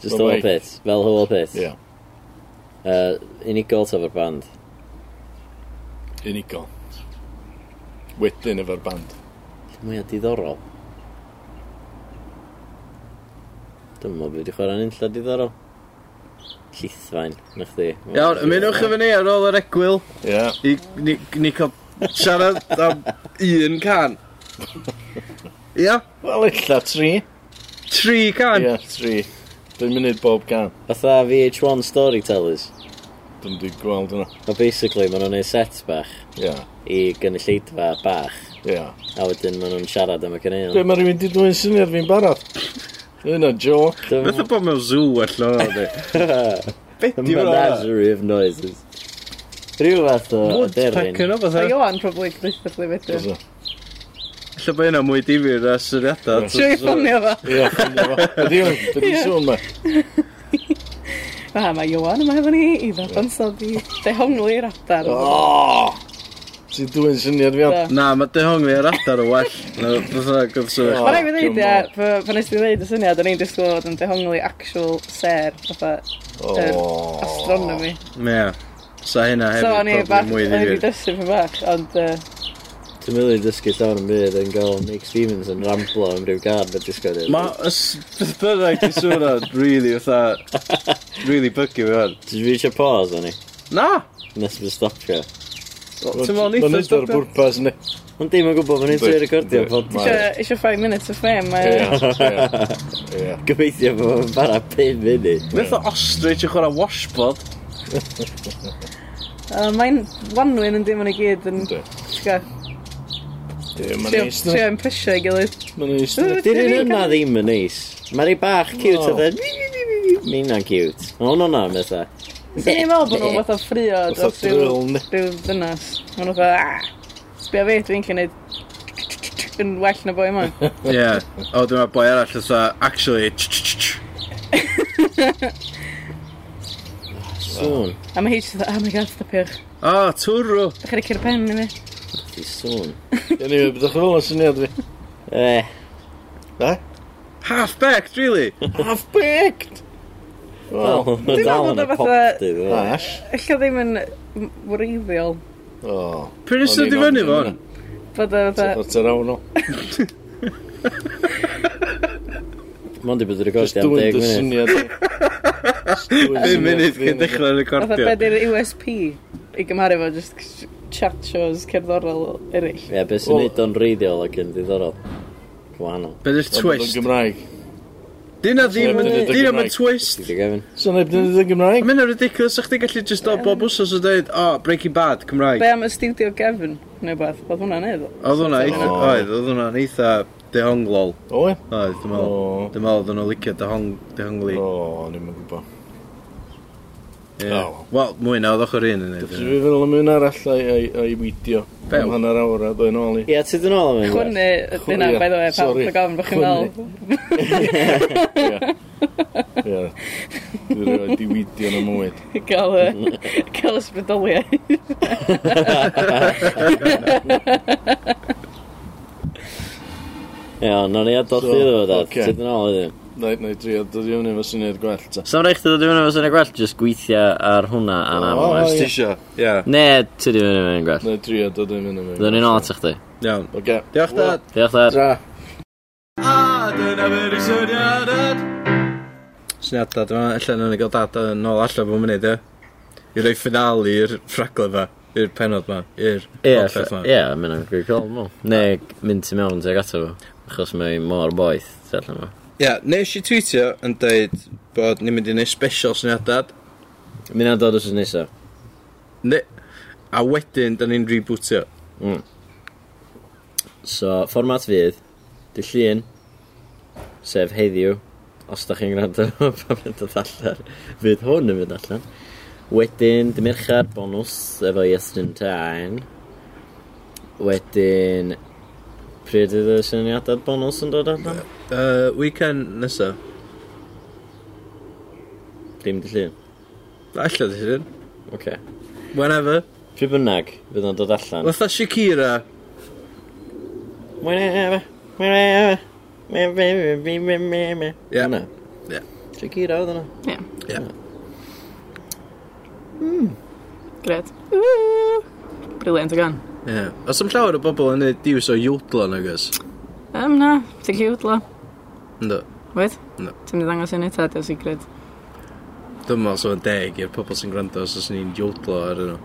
Speaker 2: Just whole
Speaker 7: Mike.
Speaker 2: pit. Fel whole pit.
Speaker 7: Ie.
Speaker 2: Uh, unigol taf o'r band.
Speaker 7: Unigol. Wedyn efo'r band.
Speaker 2: Mwy o diddorol. Dwi'n meddwl bod wedi chwarae'n un lle diddorol. Llithfain, na chdi.
Speaker 1: Iawn, ymunwch efo ni ar ôl yr egwyl.
Speaker 7: Ie.
Speaker 1: I ni, ni cael siarad am un can. Ia?
Speaker 7: Wel, illa tri.
Speaker 1: Tri can.
Speaker 7: Ie, tri. Dwi'n mynd bob gan.
Speaker 2: Fatha VH1 Storytellers.
Speaker 7: Dwi'n di gweld yna.
Speaker 2: O basically, maen nhw'n neud set bach
Speaker 7: Ie.
Speaker 2: i gynulleidfa bach.
Speaker 7: Ie.
Speaker 2: A wedyn maen nhw'n siarad am y
Speaker 7: Be,
Speaker 2: cyneuon.
Speaker 7: mae rhywun di dwi'n syniad fi'n
Speaker 1: [laughs]
Speaker 7: barod. Yna, joc.
Speaker 2: Dwi'n
Speaker 1: Beth o bod mewn zoo
Speaker 2: [laughs]
Speaker 1: allan o'n di? Beth di o'n
Speaker 2: menagerie of noises. Rhyw fath o o deryn.
Speaker 1: Woodpecker o fatha.
Speaker 3: Mae Johan probably gweithio chdi wedyn.
Speaker 7: Ie.
Speaker 1: Alla bod yna mwy difyr a syniadau.
Speaker 3: Siwr i ffonio fo.
Speaker 7: Ie. Ydy hwn, ydy
Speaker 3: Ie.
Speaker 7: sôn ma.
Speaker 3: A mae Johan yma efo ni i ddabansod i dehongli i'r adar.
Speaker 7: O! Ti dwi'n syniad fi am.
Speaker 3: Do.
Speaker 1: Na, mae dehongli ar adar o well. Na, fatha gyfswyll.
Speaker 3: Mae'n rhaid i ddweud,
Speaker 7: Come
Speaker 3: ia,
Speaker 7: on.
Speaker 3: pa- pan nes ti ddweud y syniad, o'n i'n disgwyl fod yn dehongli actual ser, fatha
Speaker 7: O!
Speaker 3: yr astronomy.
Speaker 1: Ie. Sa hynna
Speaker 3: So o'n i
Speaker 1: hefyd
Speaker 3: bach,
Speaker 1: probably mwy
Speaker 3: o'n i
Speaker 1: ddifyr.
Speaker 3: dysu fy bach, ond yy,
Speaker 2: Dwi'n mynd i dysgu llawn yn byd yn gael Nick Stevens yn ramblo am ryw gad na disgwyl.
Speaker 1: Mae beth bynnag i swnio really fatha, really byggy fi hwn.
Speaker 2: Dwi'n fi eisiau pause o'n i.
Speaker 1: Na!
Speaker 2: Nes fy stopio.
Speaker 1: Ti'n meddwl ni
Speaker 7: Mae'n eithaf o'r bwrpas ni.
Speaker 2: Ond dim yn gwybod fan hyn
Speaker 7: Dwi-
Speaker 2: trwy recordio
Speaker 7: dwi-
Speaker 2: pod.
Speaker 7: Mae-
Speaker 3: isio- isio 5 minutes of fame, mae...
Speaker 7: Ie. Ie.
Speaker 2: Gobeithio bod yn bara 5 munud.
Speaker 1: Beth o ostrich yn chwarae washboard?
Speaker 3: Uh, Mae'n wanwyn yn dim ond i gyd yn...
Speaker 7: Yndi.
Speaker 3: Trio
Speaker 7: Ie, Mae'n neis.
Speaker 3: trio impressio ei gilydd.
Speaker 7: Mae'n neis.
Speaker 2: [laughs]
Speaker 7: yndi?
Speaker 2: Dyn nhw'n yna ddim yn neis. Mae'r bach cute
Speaker 3: Oh.
Speaker 2: e. o dweud. Mae hwnna'n cute. Mae hwnna'n na, metha.
Speaker 3: Swn i'n meddwl bod nhw'n fath o ffrio
Speaker 7: Fatha
Speaker 3: dros ryw
Speaker 7: thrill, ne?
Speaker 3: ryw ddynas. Mae nhw'n fath o, sbio fi, dwi'n cael neud yn well na boi yma.
Speaker 1: Ie. [laughs] O, dyma boi arall fatha, actually, ch ch ch ch.
Speaker 2: Sŵn.
Speaker 3: A mae H dda, oh my god, stopiwch.
Speaker 1: O, twrw.
Speaker 3: Dach chi'n cyrra pen i mi.
Speaker 2: Di sŵn.
Speaker 7: Ie, ni, byddwch yn fel yn syniad fi.
Speaker 2: Eh,
Speaker 7: Da?
Speaker 1: Half-backed, really.
Speaker 7: Half-baked!
Speaker 2: wel,
Speaker 7: Wel,
Speaker 2: ma' dal yn y
Speaker 3: meddwl bod o
Speaker 2: pop
Speaker 3: fatha-
Speaker 2: dydd. wel.
Speaker 7: ash.
Speaker 3: Alla ddim yn m- wreiddiol.
Speaker 7: O.
Speaker 1: Pryd ysdw di fyny fo'n?
Speaker 3: Bod o fatha,
Speaker 7: O't ar awn o.
Speaker 2: Mond i bod y
Speaker 7: Just
Speaker 2: recordio am
Speaker 7: dwi'n
Speaker 2: 10
Speaker 7: dy
Speaker 2: munud.
Speaker 7: syniad fi. Just dwi'n
Speaker 1: 5
Speaker 7: syniad
Speaker 1: munud
Speaker 7: fi.
Speaker 1: cyn dechrau'r
Speaker 3: fatha be
Speaker 1: recordio.
Speaker 3: di'r USP i gymharu fo just c- chat shows cerddorol eraill.
Speaker 2: Ie,
Speaker 7: Oh.
Speaker 2: beth sy'n
Speaker 7: Wel-
Speaker 2: neud o'n reiddiol ac yn ddiddorol. Gwahanol.
Speaker 1: Be di'r
Speaker 7: Ond bod o'n
Speaker 1: twist?
Speaker 7: Gymraeg.
Speaker 1: Dyna ddim yn...
Speaker 2: Dwi'n deud y
Speaker 1: Dyna
Speaker 2: Gymraeg.
Speaker 1: mae'n twist.
Speaker 2: Dwi'n Gavin.
Speaker 7: So neb dyn nhw'n Gymraeg?
Speaker 1: Mae'n ridiculous, ych ti'n gallu just o bob wsos o dweud, o, Breaking Bad, Cymraeg.
Speaker 3: Be am y studio Gefn, neu beth, oedd hwnna'n neud?
Speaker 1: Oedd hwnna eitha,
Speaker 7: O.
Speaker 1: oedd, oedd hwnna'n eitha dehonglol.
Speaker 7: O, e?
Speaker 1: Oedd, dwi'n
Speaker 7: O,
Speaker 1: meddwl. Dwi'n meddwl oedd nhw'n licio dehong- dehongli.
Speaker 7: o, ni'n mynd gwybod.
Speaker 1: Ie.
Speaker 7: O.
Speaker 1: Wel, mwy na oedd ochr un yn
Speaker 7: Dwi'n
Speaker 1: neud.
Speaker 7: fi fel am un arall a'i- a'i a'i weidio.
Speaker 1: Be?
Speaker 7: Am hanner awr a dwi'n ôl i.
Speaker 2: Ie, ti dyn ôl am un
Speaker 3: Chwynnu, dyna,
Speaker 7: Chwynnu,
Speaker 3: by the way, pam,
Speaker 7: sorry.
Speaker 3: dwi'n gofyn bod chi'n
Speaker 7: Chwynnu.
Speaker 3: fel,
Speaker 7: Ie. Ie. Dwi'n rhaid i weidio yn y mwyd.
Speaker 3: [laughs] gael y, gael ysbrydoliau.
Speaker 2: Iawn, nawn ni adal
Speaker 7: So,
Speaker 2: chdi ddod o dad.
Speaker 7: ocê.
Speaker 2: Ti dyn ôl iddi.
Speaker 7: Na i drio dod i fyny efo syniad gwell ta.
Speaker 2: Sam reich ti ddod i fyny efo syniad gwell, just gweithio ar hwnna a na
Speaker 7: O,
Speaker 2: fo.
Speaker 7: ie.
Speaker 1: Tisio, ie.
Speaker 2: Ne, ti di fyny fyny gwell.
Speaker 7: Na i drio dod i fyny efo
Speaker 2: Ddwn ni'n ôl at chdi.
Speaker 1: Iawn.
Speaker 7: Oce.
Speaker 1: Diolch dad.
Speaker 2: Diolch dad.
Speaker 7: Tra.
Speaker 6: A dyna fy'r syniad ad.
Speaker 1: Syniad dad yma, allan yn y gael dad yn ôl allan bod munud, ie. I roi final i'r ffraglen fa, i'r penod ma, i'r
Speaker 2: Ie,
Speaker 1: podleth ma.
Speaker 2: ie, mynd am gwir col, mo. Ne, mynd ti mewn tuag ato fo. Achos mae mor boeth, ti allan yma.
Speaker 1: Ie, nes i tweetio yn dweud bod ni'n mynd i wneud special syniad dad.
Speaker 2: Mynd am dod os nesa.
Speaker 1: Ne. A wedyn, da ni'n rebootio.
Speaker 2: So, fformat fydd, dy llun, sef heddiw, os da chi'n gwrando [laughs] pan fydd dod allan, fydd hwn yn fynd allan. Wedyn, dy merchar bonws efo Iestyn Tain. Wedyn, pryd ydy y syniadau bonws yn dod allan?
Speaker 1: Uh, weekend nesaf.
Speaker 2: Dim dy llun.
Speaker 1: Alla dy hyn.
Speaker 2: Oce. Okay.
Speaker 1: Whenever.
Speaker 2: Pryd bynnag fydd o'n dod allan?
Speaker 1: Fytha Shakira.
Speaker 2: Mwyn e, efe, mwyn efe. Me, me, me, me, me, me.
Speaker 1: Ie.
Speaker 2: Hwnna.
Speaker 1: Ie.
Speaker 2: Shakira e. oedd hwnna.
Speaker 3: Ie,
Speaker 1: Ie.
Speaker 3: gred. Briliant o gan.
Speaker 1: Ie. Os am llawer o bobl yn neud diws o iwdlo yn agos.
Speaker 3: Ym na, ti'n cute lo.
Speaker 1: Ynddo.
Speaker 3: Wyd?
Speaker 1: Na.
Speaker 3: Ti'n mynd i ddangos yn eto, diolch i gred.
Speaker 1: Dwi'n meddwl sef yn deg i'r pobl sy'n gwrando os oes ni'n iwdlo ar yno.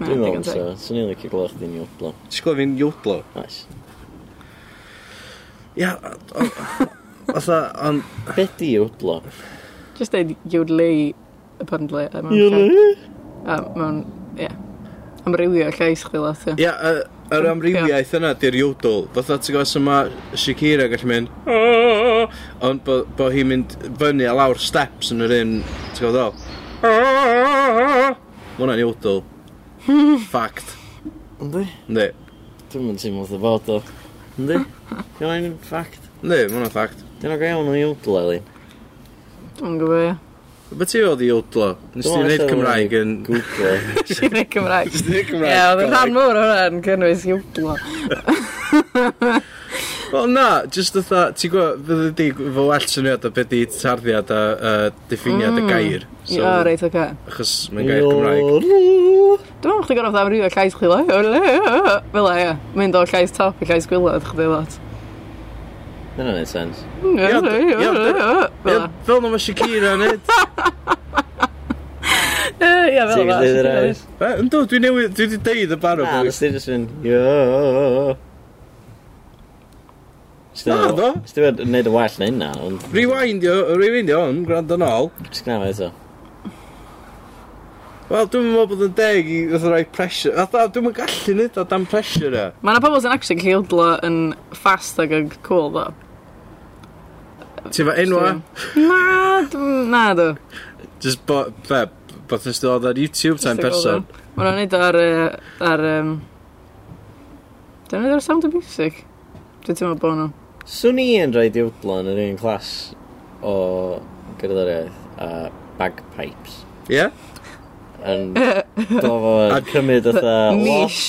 Speaker 2: Dwi'n meddwl, so, sy'n ni'n licio glwch di'n iwblo.
Speaker 1: Ti'n gwybod fi'n iwdlo?
Speaker 2: Nice.
Speaker 1: Ia. Fytha, ond...
Speaker 2: Be di iwblo?
Speaker 3: Just deud yodlei, apparently. Yodlei? A mewn, ie. Amrywio llais chdi lot, ie.
Speaker 1: Ia, y- yr amrywiaeth yna di'r iwdl. Fytha, ti'n gwybod sy'n ma Shakira gallu mynd... Ond bo, bo hi'n mynd fyny a lawr steps yn yr un... Ti'n gwybod ddol? Mwna'n iwdl. Fact.
Speaker 2: Ynddi?
Speaker 1: Ynddi.
Speaker 2: Dwi'n mynd teimlo wrth y bod o.
Speaker 1: [laughs]
Speaker 2: Ynddi? Dwi'n ffact.
Speaker 1: Ynddi, mwna'n fact.
Speaker 2: Dwi'n o'r gael nhw'n iwblo, Eli.
Speaker 3: Dwi'n gwybod,
Speaker 2: [laughs]
Speaker 3: ie.
Speaker 1: Be ti oedd i iwdlo? Nes ti'n neud Cymraeg yn... [laughs]
Speaker 2: Google.
Speaker 3: Ti'n ei Cymraeg.
Speaker 1: Nes ti'n neud
Speaker 3: Ie,
Speaker 7: e.
Speaker 3: oedd e. yn rhan mwyr o hwnna'n cynnwys yodlo.
Speaker 1: Wel na, just ytha, ti'n gwybod, fydde di fo well syniad o beth i tarddiad a uh, diffiniad y gair.
Speaker 3: Ie, o, reit, oce.
Speaker 1: Achos mae'n gair Cymraeg.
Speaker 3: Dwi'n meddwl chdi gorau fatha amrywio llais chdi lot. Fel ie. Mynd o llais top i llais gwylod chdi lot.
Speaker 2: Dyna neud sens.
Speaker 1: Ia, d- ia,
Speaker 3: Fel
Speaker 1: Ie,
Speaker 3: e.
Speaker 1: Fel na mae Shakira yn neud.
Speaker 3: Ie, fel
Speaker 2: Ti'n
Speaker 3: yma.
Speaker 2: gwneud yr oes?
Speaker 1: Be, Yndw, dwi newid, dwi wedi deud y barod.
Speaker 2: Na, Ah, nes ti'n just mynd, yo.
Speaker 1: Na, Ah, do.
Speaker 2: Nes ti'n wedi neud y well na hynna, ond...
Speaker 1: Rewindio, rewindio hwn, gwrando yn ôl.
Speaker 2: Just gna fe eto.
Speaker 1: Wel, dwi'n meddwl bod yn deg i fatha rhoi pressure. Fatha, dwi'n meddwl gallu neud o dan pressure e.
Speaker 3: Mae yna pobl sy'n actually gallu odlo yn fast ag yn cool, ddo.
Speaker 1: Ti'n fa enwa?
Speaker 3: Na, dw- na, dw.
Speaker 1: Just bo, be, bod yn still ar YouTube ta'n person.
Speaker 3: Mae nhw'n neud o ar... yy, ar um, Dwi'n neud ar Sound of Music. Dwi'n teimlo bod nhw.
Speaker 2: Swn i yn rhaid i wdlon yn un clas o gyrddoriaeth a bagpipes.
Speaker 1: Ie? [laughs]
Speaker 2: Yn dofo
Speaker 1: A-
Speaker 2: yn cymryd otha lot,
Speaker 3: Nish.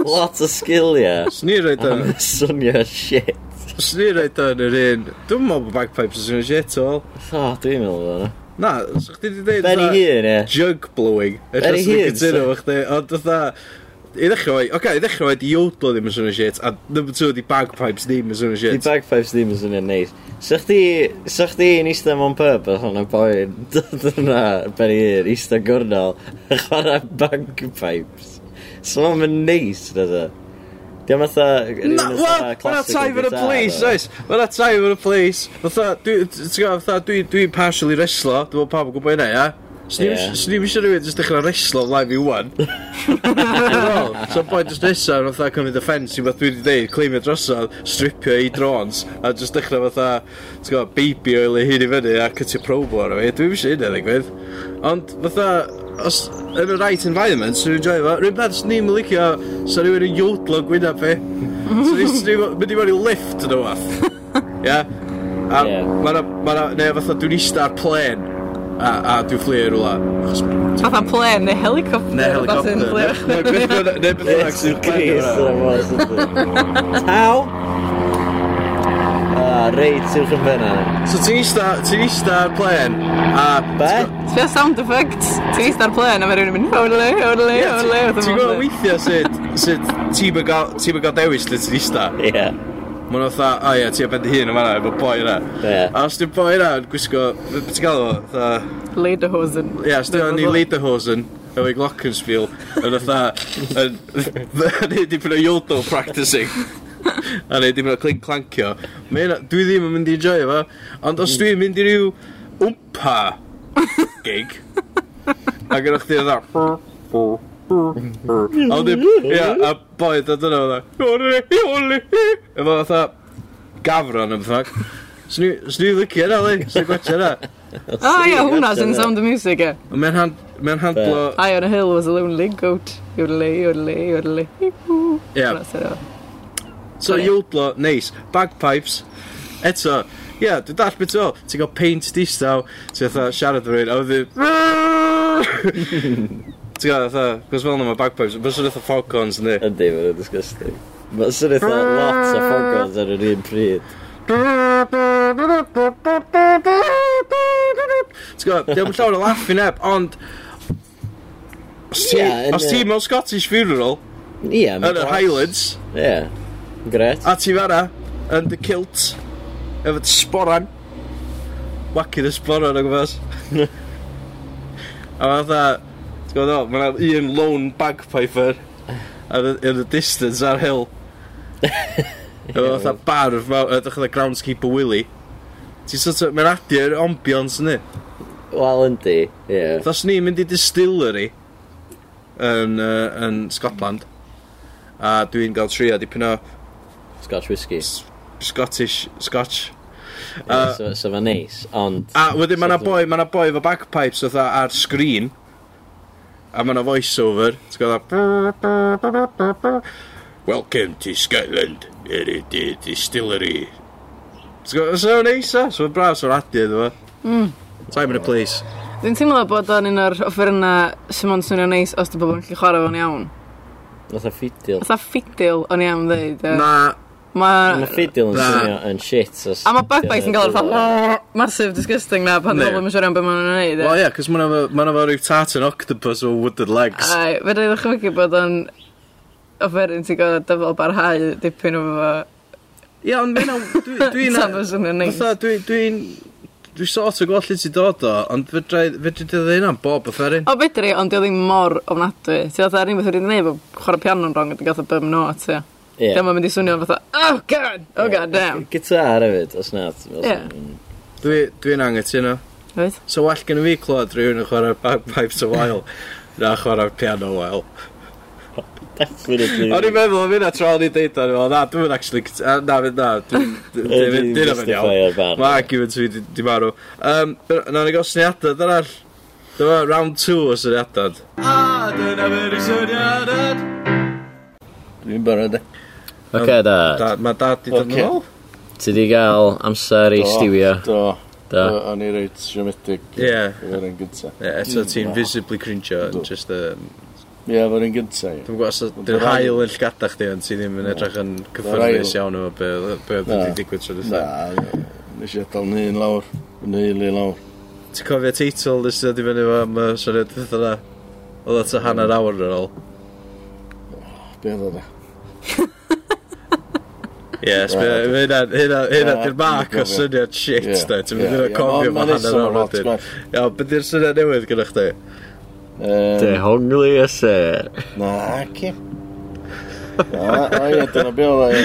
Speaker 2: lot o sgiliau.
Speaker 1: Swn i'n rhaid
Speaker 2: [laughs]
Speaker 1: yn...
Speaker 2: Am swnio shit.
Speaker 1: Swn i'n rhaid yn yr un... Dwi'n meddwl bod bagpipes yn swnio shit o all.
Speaker 2: O, dwi'n meddwl bod hwnna.
Speaker 1: Na, sa'ch chdi wedi dweud...
Speaker 2: Ben i hun, ie.
Speaker 1: Jug blowing.
Speaker 2: Benny Hinn,
Speaker 1: Cytuno
Speaker 2: so-
Speaker 1: fo chdi. Ond dda... I ddechrau fo, oce, i ddechrau fo, di iodlo ddim yn swnio shit, a number two, di bagpipes ddim yn swnio
Speaker 2: Di
Speaker 1: shit.
Speaker 2: bagpipes ddim yn swnio'n neis. Sa chdi, sa chdi yn eistedd mewn pub a hwnna boi yn [laughs] dod yna ben i hun, eistedd gwrnol, a chwarae bagpipes. So mae'n neis, na da. Diolch fatha... ryw
Speaker 1: Na,
Speaker 2: fatha
Speaker 1: wel, mae'na
Speaker 2: classical
Speaker 1: time yn y
Speaker 2: guitar,
Speaker 1: place,
Speaker 2: o.
Speaker 1: oes. Mae'na time yn y place. Fytha, dwi- t- ti'n gwybod, fatha, dwi- dwi'n partially wrestler, dwi'n meddwl pawb yn gwybod hynna, ia? Swn
Speaker 2: Ie.
Speaker 1: i'n eisiau rhywun jyst dechrau wrestlo live i
Speaker 2: [laughs]
Speaker 1: wwan. Wel, So boi jyst nesaf yn fatha cymryd offence i beth dwi wedi dweud, claimio drosodd, stripio i drones, a jyst dechrau fatha, ti'n gwybod, baby oil i hyn i fyny a cytio probo ar fi. Dwi'n eisiau hynna ddigwydd. Ond fatha, os yn y right environment, sy'n rwy'n joio fo, rhywun beth sy'n ni'n mylicio, sy'n rhywun yn iwdlo gwynaf fi. Sy'n mynd i mewn i lift yn o fath. Ia? A
Speaker 2: Ie.
Speaker 1: mae'na, mae'na- neu fatha, dwi'n eistedd ar plen, a, a dwi'n fflio i rwla. Achos
Speaker 3: Fatha plen neu helicopter.
Speaker 1: Neu helicopter.
Speaker 3: fatha'n
Speaker 1: Neu
Speaker 3: flio.
Speaker 1: neu beth bynnag- neu beth bynnag
Speaker 2: Yes,
Speaker 1: sy'n
Speaker 2: i'r
Speaker 1: planned
Speaker 2: Gris,
Speaker 1: yna.
Speaker 2: dyna fo, sy'n dweud. Taw! Ah, reit uwch yn benna.
Speaker 1: So ti'n eista, ti'n eista ar plen, a...
Speaker 2: Be?
Speaker 3: Sbio sound effects. Ti'n eist ar plen a mae rhywun yn mynd hodle, hodle,
Speaker 1: Ie,
Speaker 3: hodle.
Speaker 1: ti- Ti'n gwybod weithio sut, sut ti'n gael dewis lle ti'n eista?
Speaker 2: Ie.
Speaker 1: Mae'n fatha, o ie, ti'n bend i hun yma efo boi yna.
Speaker 2: Ie.
Speaker 1: A os ti'n boi yna yn gwisgo, beth ti'n gael o? Fatha-
Speaker 3: Lederhosen.
Speaker 1: Ie, os ti'n ni Lederhosen, efo i Glockenspiel, yn fatha, yn [laughs] neud i pwyna yodo practicing. A neud i pwyna clink clancio. Mae hynna- Dwi ddim yn mynd i enjoy efo, ond os dwi'n mynd i ryw wmpa gig, a gyda chdi yna, a wedyn, ie, a boi, da dyna fatha, "Iole, iole, i." efo fatha, gafron yn bythag. Swn i- swn i'n licio hynna, le, swn i'n gwachio hynna.
Speaker 3: O ia, Oh, hwnna's in sound of music e.
Speaker 1: Mae'n hand, mae'n handlo...
Speaker 3: I on a hill was a lonely goat. Hodle, hodle, hodle.
Speaker 1: Ie, so
Speaker 3: Sorry.
Speaker 1: iwdlo, neis. Bagpipes. Eto, ie, yeah, dwi'n dall beth o. Ti'n cael paint distaw, ti'n fatha siarad yn rhywun, a wedyn...
Speaker 2: [laughs]
Speaker 1: Ti'n cael fatha, gwrs fel yna mae bagpipes, mae'n sôn fatha foghorns yn di.
Speaker 2: Ydy, mae'n disgusting. Mae'n sy'n eitha lot o ffogos ar yr un pryd.
Speaker 1: Ti'n gwybod, diolch yn llawer o laff i neb, ond... Os ti-
Speaker 2: Ie, yn
Speaker 1: os
Speaker 2: y-
Speaker 1: ti mewn Scottish funeral,
Speaker 2: Ie,
Speaker 1: yn
Speaker 2: mae'n lot.
Speaker 1: yr Highlands,
Speaker 2: Ie. Gret.
Speaker 1: a ti fanna, yn dy kilt, efo dy sboran, wacu'n y sboran o gwybod. [laughs] a mae fatha, ti'n gwybod, mae'n un lone bagpiper yn y- yn y distance ar hill. efo fatha barf, ma- edrych oedd y groundskeeper Willy. Ti'n sort of, mae'n adio'r ambience ni.
Speaker 2: Wel, yndi. Ie.
Speaker 1: Thos ni'n mynd i distillery yn, uh, yn Scotland a dwi'n gael trio dipyn o
Speaker 2: Scotch whisky.
Speaker 1: S- Scottish Scotch
Speaker 2: Ie, So so fa neis, ond...
Speaker 1: a wedyn mae yna boi mae yna boi efo bagpipes oedd ar sgrin a mae yna voice over ti'n gwybod Welcome to Scotland it is the er distillery ti'n gwybod so neis o so mae'n braf so'r adio iddo fo time and a place
Speaker 3: Dwi'n teimlo bod o'n un o'r offeryna sy'n mond swnio neis os dy bobl yn gallu chwarae fo'n iawn.
Speaker 2: Nath o ffidil.
Speaker 3: Fatha ffidil o'n iawn ddeud. e.
Speaker 1: na
Speaker 3: Ma-
Speaker 2: Mae ffidil yn
Speaker 1: Na.
Speaker 2: swnio yn shit. os-
Speaker 3: A mae bagpipes yn cael yr ffordd [laughs] massive disgusting na pan
Speaker 1: Ne.
Speaker 3: pobl yn siŵr iawn beth maen nhw'n neud.
Speaker 1: Wel ie, yeah, cos mae'n efo rhyw tartan octopus o wooden legs.
Speaker 3: Ai, fe dwi'n chymygu bod o'n offeryn ti'n gael dyfol barhau dipyn o fo.
Speaker 1: Ie, ond mae'n... Dwi'n...
Speaker 3: Tan fos yn neis.
Speaker 1: Fytha, dwi'n... Dwi'n dwi sort o gweld lle ti dod o, ond fedrai fedrai ti ddweud hynna'n bob o fferin.
Speaker 3: O bedri, ond dio ddim mor ofnadwy. Ti'n fatha rhywbeth wedi gwneud bod chwarae piano'n rong a ti'n gael bum not, ie.
Speaker 2: Ie.
Speaker 3: Dyma mynd i swnio fatha, oh god, oh god damn.
Speaker 2: Gitar hefyd, os nad.
Speaker 3: Ie.
Speaker 1: Dwi- Dwi'n angytuno.
Speaker 3: Wyt?
Speaker 1: So well gen i fi clod rhywun yn chwarae bagpipes o wael. Na, chwarae piano wael.
Speaker 2: Definitely.
Speaker 1: O'n i'n meddwl am hynna tra o'n i'n deud o'n i'n na, dwi'n actually... cyt- a, Na, fydd na, dwi'n... Dwi'n dwi'n
Speaker 2: Ydy'n
Speaker 1: dwi'n iawn.
Speaker 2: justifio'r barn.
Speaker 1: Mae argument fi di di marw. Um, na ni gael syniadau, dyna'r... Dyma round 2 o syniadau.
Speaker 6: A dyna fe'r syniadad.
Speaker 7: Dwi'n barod e.
Speaker 2: Oce, da.
Speaker 1: Da, mae dad di dod yn
Speaker 7: Ocê.
Speaker 1: ôl.
Speaker 2: Ti di gael amser i
Speaker 7: Do,
Speaker 2: stiwio.
Speaker 7: Do.
Speaker 2: Da.
Speaker 7: Do, O'n i reit siomedig.
Speaker 1: Ie.
Speaker 7: Efo'r un gynta.
Speaker 1: Ie, eto ti'n
Speaker 7: Na.
Speaker 1: visibly cringe yn
Speaker 7: Yndw.
Speaker 1: just um,
Speaker 7: Ie, efo'r un gynta.
Speaker 1: Dwi'n gwybod os
Speaker 7: Ond
Speaker 1: dwi'n
Speaker 7: yr ail-
Speaker 1: hael yn llgadach di ond ti ddim yn edrych yn cyffyrddus iawn efo be be oedd
Speaker 7: Na.
Speaker 1: wedi digwydd tro
Speaker 7: Na,
Speaker 1: dweud.
Speaker 7: nes i adal yn un lawr. Yn un i lawr.
Speaker 1: Ti'n cofio teitl nes ti ddod i fyny efo am uh, syniad beth yna? Oedd at y
Speaker 2: Mm.
Speaker 1: hanner awr yn ôl.
Speaker 7: Be oedd e?
Speaker 1: Ie, sbi-
Speaker 7: Right.
Speaker 1: hynna hynna- hynna
Speaker 7: Na,
Speaker 1: di'r mark o
Speaker 7: dwi'n cofio.
Speaker 1: syniad shit
Speaker 7: Ie,
Speaker 1: da. Ti'n
Speaker 7: ie,
Speaker 1: mynd i'n
Speaker 7: ie.
Speaker 1: cofio
Speaker 7: Ma-
Speaker 1: efo
Speaker 7: ma' neud
Speaker 1: hanner awr
Speaker 7: lot
Speaker 1: wedyn.
Speaker 7: gwell.
Speaker 1: Iawn, beth di'r syniad newydd gyda chdi?
Speaker 7: Yym,
Speaker 2: hongli y se.
Speaker 7: Na, ci. A, o ie, dyna be oedd o, ie.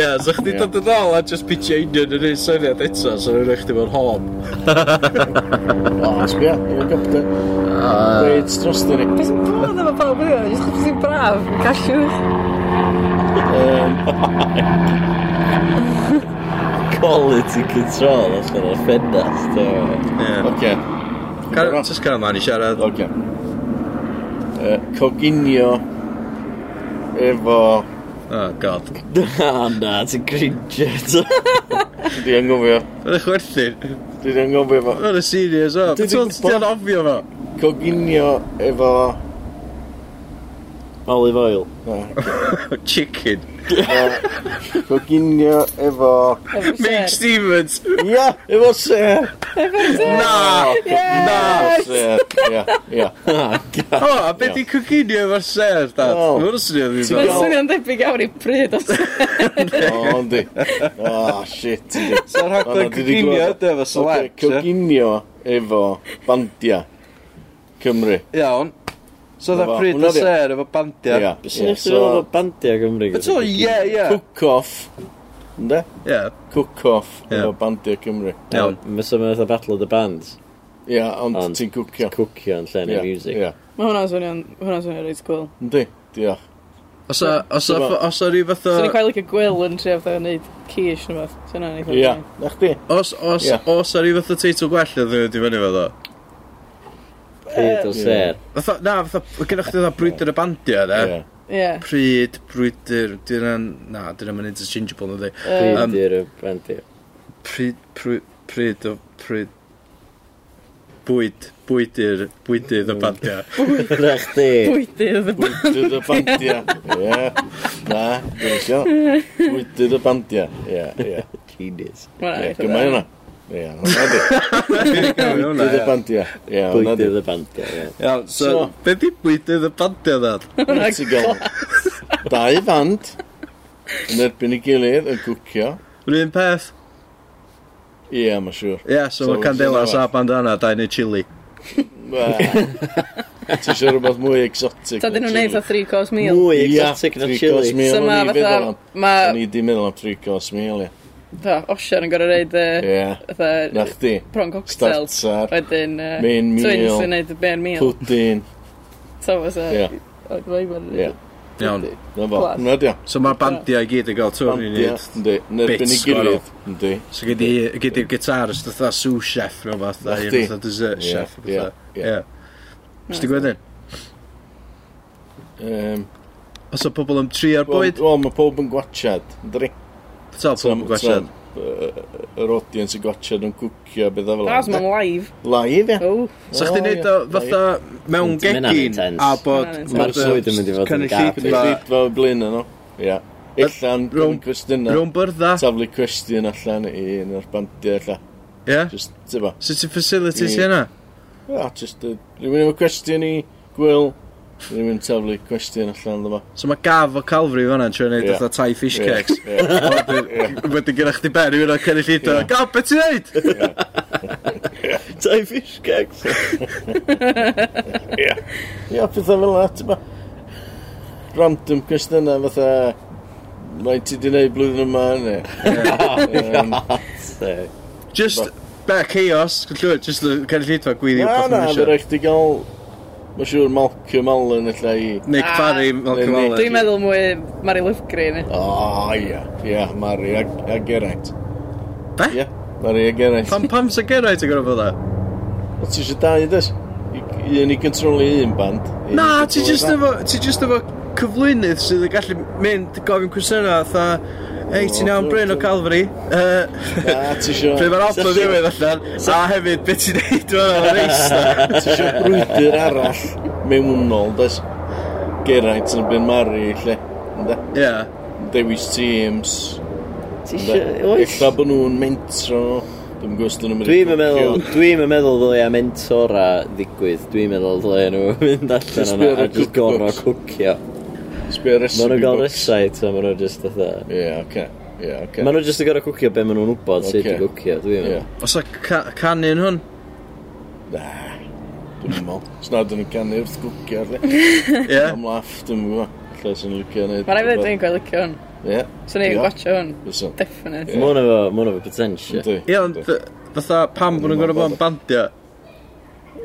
Speaker 1: [laughs]
Speaker 2: Ie, so chdi dod yn ôl a just pitch union yn un syniad eto,
Speaker 7: Alltså,
Speaker 2: so rwy'n rhaid chdi fo'n hon.
Speaker 7: O, sbia, helicopter. Wait, drosti ni.
Speaker 3: Beth sy'n bod efo pawb yna? Jyst chwbeth sy'n braf, gallwch.
Speaker 2: Quality control allan o'r ffenast. o.
Speaker 1: Ie.
Speaker 7: Oce,
Speaker 1: Car- Jyst cael man i siarad.
Speaker 7: oce. Yy, Coginio efo...
Speaker 1: Oh, god.
Speaker 2: Na, na, ti'n cringe [laughs] eto.
Speaker 7: Dwi anghofio.
Speaker 1: Yn eich werthu.
Speaker 7: Dwi anghofio efo...
Speaker 1: Yn y serious o.
Speaker 7: Dwi-
Speaker 1: Ti'n
Speaker 7: dwi-
Speaker 1: ti'n ofio fo?
Speaker 7: Coginio efo...
Speaker 2: Olive [laughs] oil.
Speaker 7: Na,
Speaker 1: Chicken.
Speaker 7: efo- Coginio efo...
Speaker 1: Meg Stevens.
Speaker 7: Ia, efo ser!
Speaker 1: Na! Na!
Speaker 7: Ser, ia, ia.
Speaker 2: Ah, Oh.
Speaker 1: O, a beth i coginio efo'r ser, dad?
Speaker 7: O.
Speaker 1: Mae'n swnio ddim
Speaker 3: Mae'n
Speaker 1: fel.
Speaker 3: swnio'n debyg awr i bryd os
Speaker 7: O, yndi. O, Ah, shit. yndi.
Speaker 1: Sa'r
Speaker 7: O, na,
Speaker 1: rhaglen
Speaker 7: dwi 'di glywed
Speaker 1: coginio ydy efo
Speaker 7: o. Oce,
Speaker 1: select. ie?
Speaker 7: Coginio efo bandia Cymru.
Speaker 1: Iawn. So dda
Speaker 7: Efo-
Speaker 1: pryd
Speaker 7: hwnna
Speaker 1: y
Speaker 7: di-
Speaker 1: ser efo bandia.
Speaker 7: Ia,
Speaker 2: Sy'n
Speaker 7: ie,
Speaker 2: eich sy'n
Speaker 7: so...
Speaker 2: oedd o bandia Gymru? gyda
Speaker 1: Eto,
Speaker 2: chi?
Speaker 1: ie, ie.
Speaker 7: Cook-off. Ynde?
Speaker 1: Ie.
Speaker 7: Cook-off
Speaker 1: Ie.
Speaker 7: efo bandia Cymru.
Speaker 1: Iawn.
Speaker 2: Fysa mae'n eitha Battle of the Bands.
Speaker 7: Ia, ond
Speaker 2: Ond-
Speaker 7: ti'n cwcio.
Speaker 2: Cwcio yn lle neu
Speaker 7: Ie,
Speaker 2: music.
Speaker 7: Ie.
Speaker 3: Mae hwnna'n swnio'n hwnna swnio'n reit cool.
Speaker 7: Yndi, diolch.
Speaker 1: Os a- os a-
Speaker 7: Dyma-
Speaker 1: os a rhyw fath
Speaker 3: So ni'n
Speaker 1: o...
Speaker 3: cael like y gwyl yn tref dda wneud quiche neu beth. So hwnna'n eitha.
Speaker 7: Ia, na chdi?
Speaker 1: Os, os,
Speaker 7: Ie.
Speaker 1: os a rhyw fath o teitl gwell oedd yn dod i fyny fo ddo.
Speaker 2: Pryd o ser.
Speaker 1: Fatha, na, fatha, gynnwch chi fatha brwydyr y bandia, ne?
Speaker 7: Ie.
Speaker 3: Ie.
Speaker 1: Pryd, brwydyr, dyn nhw'n... Na, dyn nhw'n interchangeable, na di.
Speaker 3: Yy,
Speaker 1: Yym.
Speaker 2: Pryd i'r bandia.
Speaker 1: Pryd, pryd, pryd, o- pryd... Bwyd, bwydyr, bwydyr y bandia.
Speaker 2: Na chdi.
Speaker 3: Bwydydd.
Speaker 7: Bwydydd y bandia. Ie. Na, dwi'n isio. Bwydydd y bandia. Ie, ie.
Speaker 2: Genius.
Speaker 3: Mae'n
Speaker 7: Ie,
Speaker 3: eitha.
Speaker 7: Gymau hwnna. Ie, hwnna di. Bwydydd y
Speaker 1: Iawn,
Speaker 7: bandia. Ie, hwnna di.
Speaker 2: Bwydydd y bandia, ie.
Speaker 1: so,
Speaker 7: So-
Speaker 1: be di bwydyr y bandia, ddad?
Speaker 7: Wyt ti'n gael dau fand yn erbyn i gilydd yn cwcio.
Speaker 1: Yr un peth?
Speaker 7: Ie, mae'n siŵr.
Speaker 1: Ie, so
Speaker 7: So,
Speaker 1: mae candelas
Speaker 7: so-
Speaker 1: a bandana, dau neu chili. [laughs]
Speaker 7: Ti'n siŵr rhywbeth mwy exotic.
Speaker 3: Ta dyn nhw'n neud fatha 3 course meal.
Speaker 2: Mwy exotic na chili.
Speaker 3: So ma' fatha- ma'
Speaker 7: Ni di meddwl am three course meal, ie.
Speaker 3: Ta, osian yn gorau reid yy,
Speaker 7: Ie. Na
Speaker 3: fatha
Speaker 7: chdi.
Speaker 3: prawn cocktails.
Speaker 7: Starter.
Speaker 3: Wedyn yy,
Speaker 7: Main meal.
Speaker 3: twins yn neud y main meal.
Speaker 7: Pwdin.
Speaker 3: Ta fysa.
Speaker 7: Ie. Ie.
Speaker 3: Ie.
Speaker 1: Iawn.
Speaker 7: Na fo.
Speaker 3: Class.
Speaker 7: Na di o.
Speaker 1: So mae'r bandia i gyd yn gael twr i
Speaker 7: Bandia.
Speaker 1: wneud.
Speaker 7: Yndi. Yn erbyn i
Speaker 1: Bits gwahanol.
Speaker 7: gilydd. Yndi.
Speaker 1: So gyd i- gyd i'r gitarist fatha sous chef neu fath, a un
Speaker 7: Nachdi.
Speaker 1: fatha dessert
Speaker 7: Ie,
Speaker 1: chef.
Speaker 7: ie,
Speaker 1: fatha.
Speaker 7: ie.
Speaker 1: Ie. Os ti'n gwybod hyn?
Speaker 7: Yym,
Speaker 1: Os o pobl yn tri ar
Speaker 7: Wel,
Speaker 1: bwyd,
Speaker 7: wel, mae pob yn gwachad. Ynddi.
Speaker 1: tal pob yn gwestiwn.
Speaker 7: Yr audience yn gwachad yn cwcio beth fel.
Speaker 3: Tas ma'n live.
Speaker 7: Live, ie.
Speaker 3: Oh.
Speaker 1: So chdi'n neud o fatha mewn
Speaker 2: Ma' hynna'n
Speaker 1: gegin
Speaker 2: intense.
Speaker 1: a bod...
Speaker 3: Ma' hynna'n intense.
Speaker 1: bod
Speaker 2: Ma'r swydd yn mynd i fod yn
Speaker 1: cynulleidfa
Speaker 2: gap.
Speaker 7: Nid fel blin yno. Ie. Illan,
Speaker 1: rown-
Speaker 7: gofyn cwestiynau.
Speaker 1: Rwy'n byrdda,
Speaker 7: Taflu cwestiwn allan i un o'r bandiau allan.
Speaker 1: ie?
Speaker 7: Just, ti'n ba?
Speaker 1: So ti'n facilities
Speaker 7: Ie.
Speaker 1: hynna?
Speaker 7: O, just, uh, rhywun efo cwestiwn i Gwyl, rhywun taflu cwestiwn allan dda
Speaker 1: So mae gaf o Calfri fan'na yn trio neud
Speaker 7: Ie.
Speaker 1: fatha Thai fish
Speaker 7: Ie,
Speaker 1: cakes. [laughs]
Speaker 7: ie.
Speaker 1: Wedyn gyda chdi ben, rwy'n o'n cynnig llido.
Speaker 7: Ie.
Speaker 1: Gaf, beth ti'n
Speaker 7: [laughs]
Speaker 1: neud?
Speaker 2: Tai fish cakes.
Speaker 7: Ia, pethau fel yna, ti'n ba? Random cwestiynau fatha, mae ti di neud blwyddyn yma, ne? Yym,
Speaker 1: Just, be, chaos, llwyd, just cynnig llido gwyddi
Speaker 7: Na,
Speaker 1: o'r
Speaker 7: na, fe
Speaker 1: performance.
Speaker 7: rhaid ti gael, mae siŵr Malcolm Allen allan i...
Speaker 1: Nick
Speaker 3: Ah.
Speaker 1: Parry, Malcolm
Speaker 7: Nick.
Speaker 1: Allen.
Speaker 3: Dwi'n meddwl mwy Mary Lufgren.
Speaker 7: O, ia, ia, Mari a, a Geraint.
Speaker 1: Be?
Speaker 7: Ia, Mari a Geraint.
Speaker 1: Pam, pam sy'n gyrraedd ti'n gwrdd bod e?
Speaker 7: O, ti eisiau dau dys? I- Un i controli un band. un i
Speaker 1: Na, ti
Speaker 7: controli
Speaker 1: just
Speaker 7: llall.
Speaker 1: efo, ti just efo cyflwynydd sydd yn gallu mynd gofyn cwestiynau a Ei, ti'n iawn Bryn o [laughs] Calfri? Pryd
Speaker 7: Na, ti eisiau...
Speaker 1: mae'r album ddiwedd allan, a hefyd, beth ti'n neud fan o'r reis na?
Speaker 7: [laughs] Ti eisiau brwydyr arall mewnol, dys? Geraint yn byn Mari, lle. Ynde?
Speaker 1: Ie.
Speaker 7: Dewis Teams.
Speaker 2: Ti isio... oes?
Speaker 7: Ella bod nhw'n mentro. Dwi'n gwybod yn ymwneud.
Speaker 2: Dwi'n yn meddwl, dwi'n yn meddwl ddylia mentora ddigwydd. Dwi'n meddwl ddylia nhw [laughs] mynd
Speaker 7: Just
Speaker 2: allan yna
Speaker 7: be
Speaker 2: a
Speaker 7: ar y
Speaker 2: just gorfod cwcio.
Speaker 7: Sbio
Speaker 2: Ma'
Speaker 7: recipe
Speaker 2: nhw'n gael
Speaker 7: book.
Speaker 2: resait a ma' nhw just fatha...
Speaker 7: Ie, oce. Ie, oce.
Speaker 2: Ma' nhw just yn gorfod cwcio be ma' nhw'n wybod sut
Speaker 7: Ocê.
Speaker 2: i cwcio, dwi'n
Speaker 7: Ie.
Speaker 2: meddwl.
Speaker 1: Os o ca- canu'n hwn?
Speaker 7: Na. Dwi'n meddwl. Snad yn y canu wrth gwcio, lle.
Speaker 1: Ie.
Speaker 7: Am laff, dwi'n meddwl. lle sy'n licio neud.
Speaker 3: Mae'n rhaid i fi'n gwael licio hwn.
Speaker 7: Ie,
Speaker 3: So ni'n
Speaker 7: Ie.
Speaker 3: gwachio hwn.
Speaker 7: fysa.
Speaker 3: Definite.
Speaker 2: Mae hwnna fo, mae hwnna fo potential. Ie,
Speaker 7: Ynddi,
Speaker 1: Ie, ond
Speaker 7: ynddi.
Speaker 1: th- fatha pam bod nhw'n gorau bod yn bandio.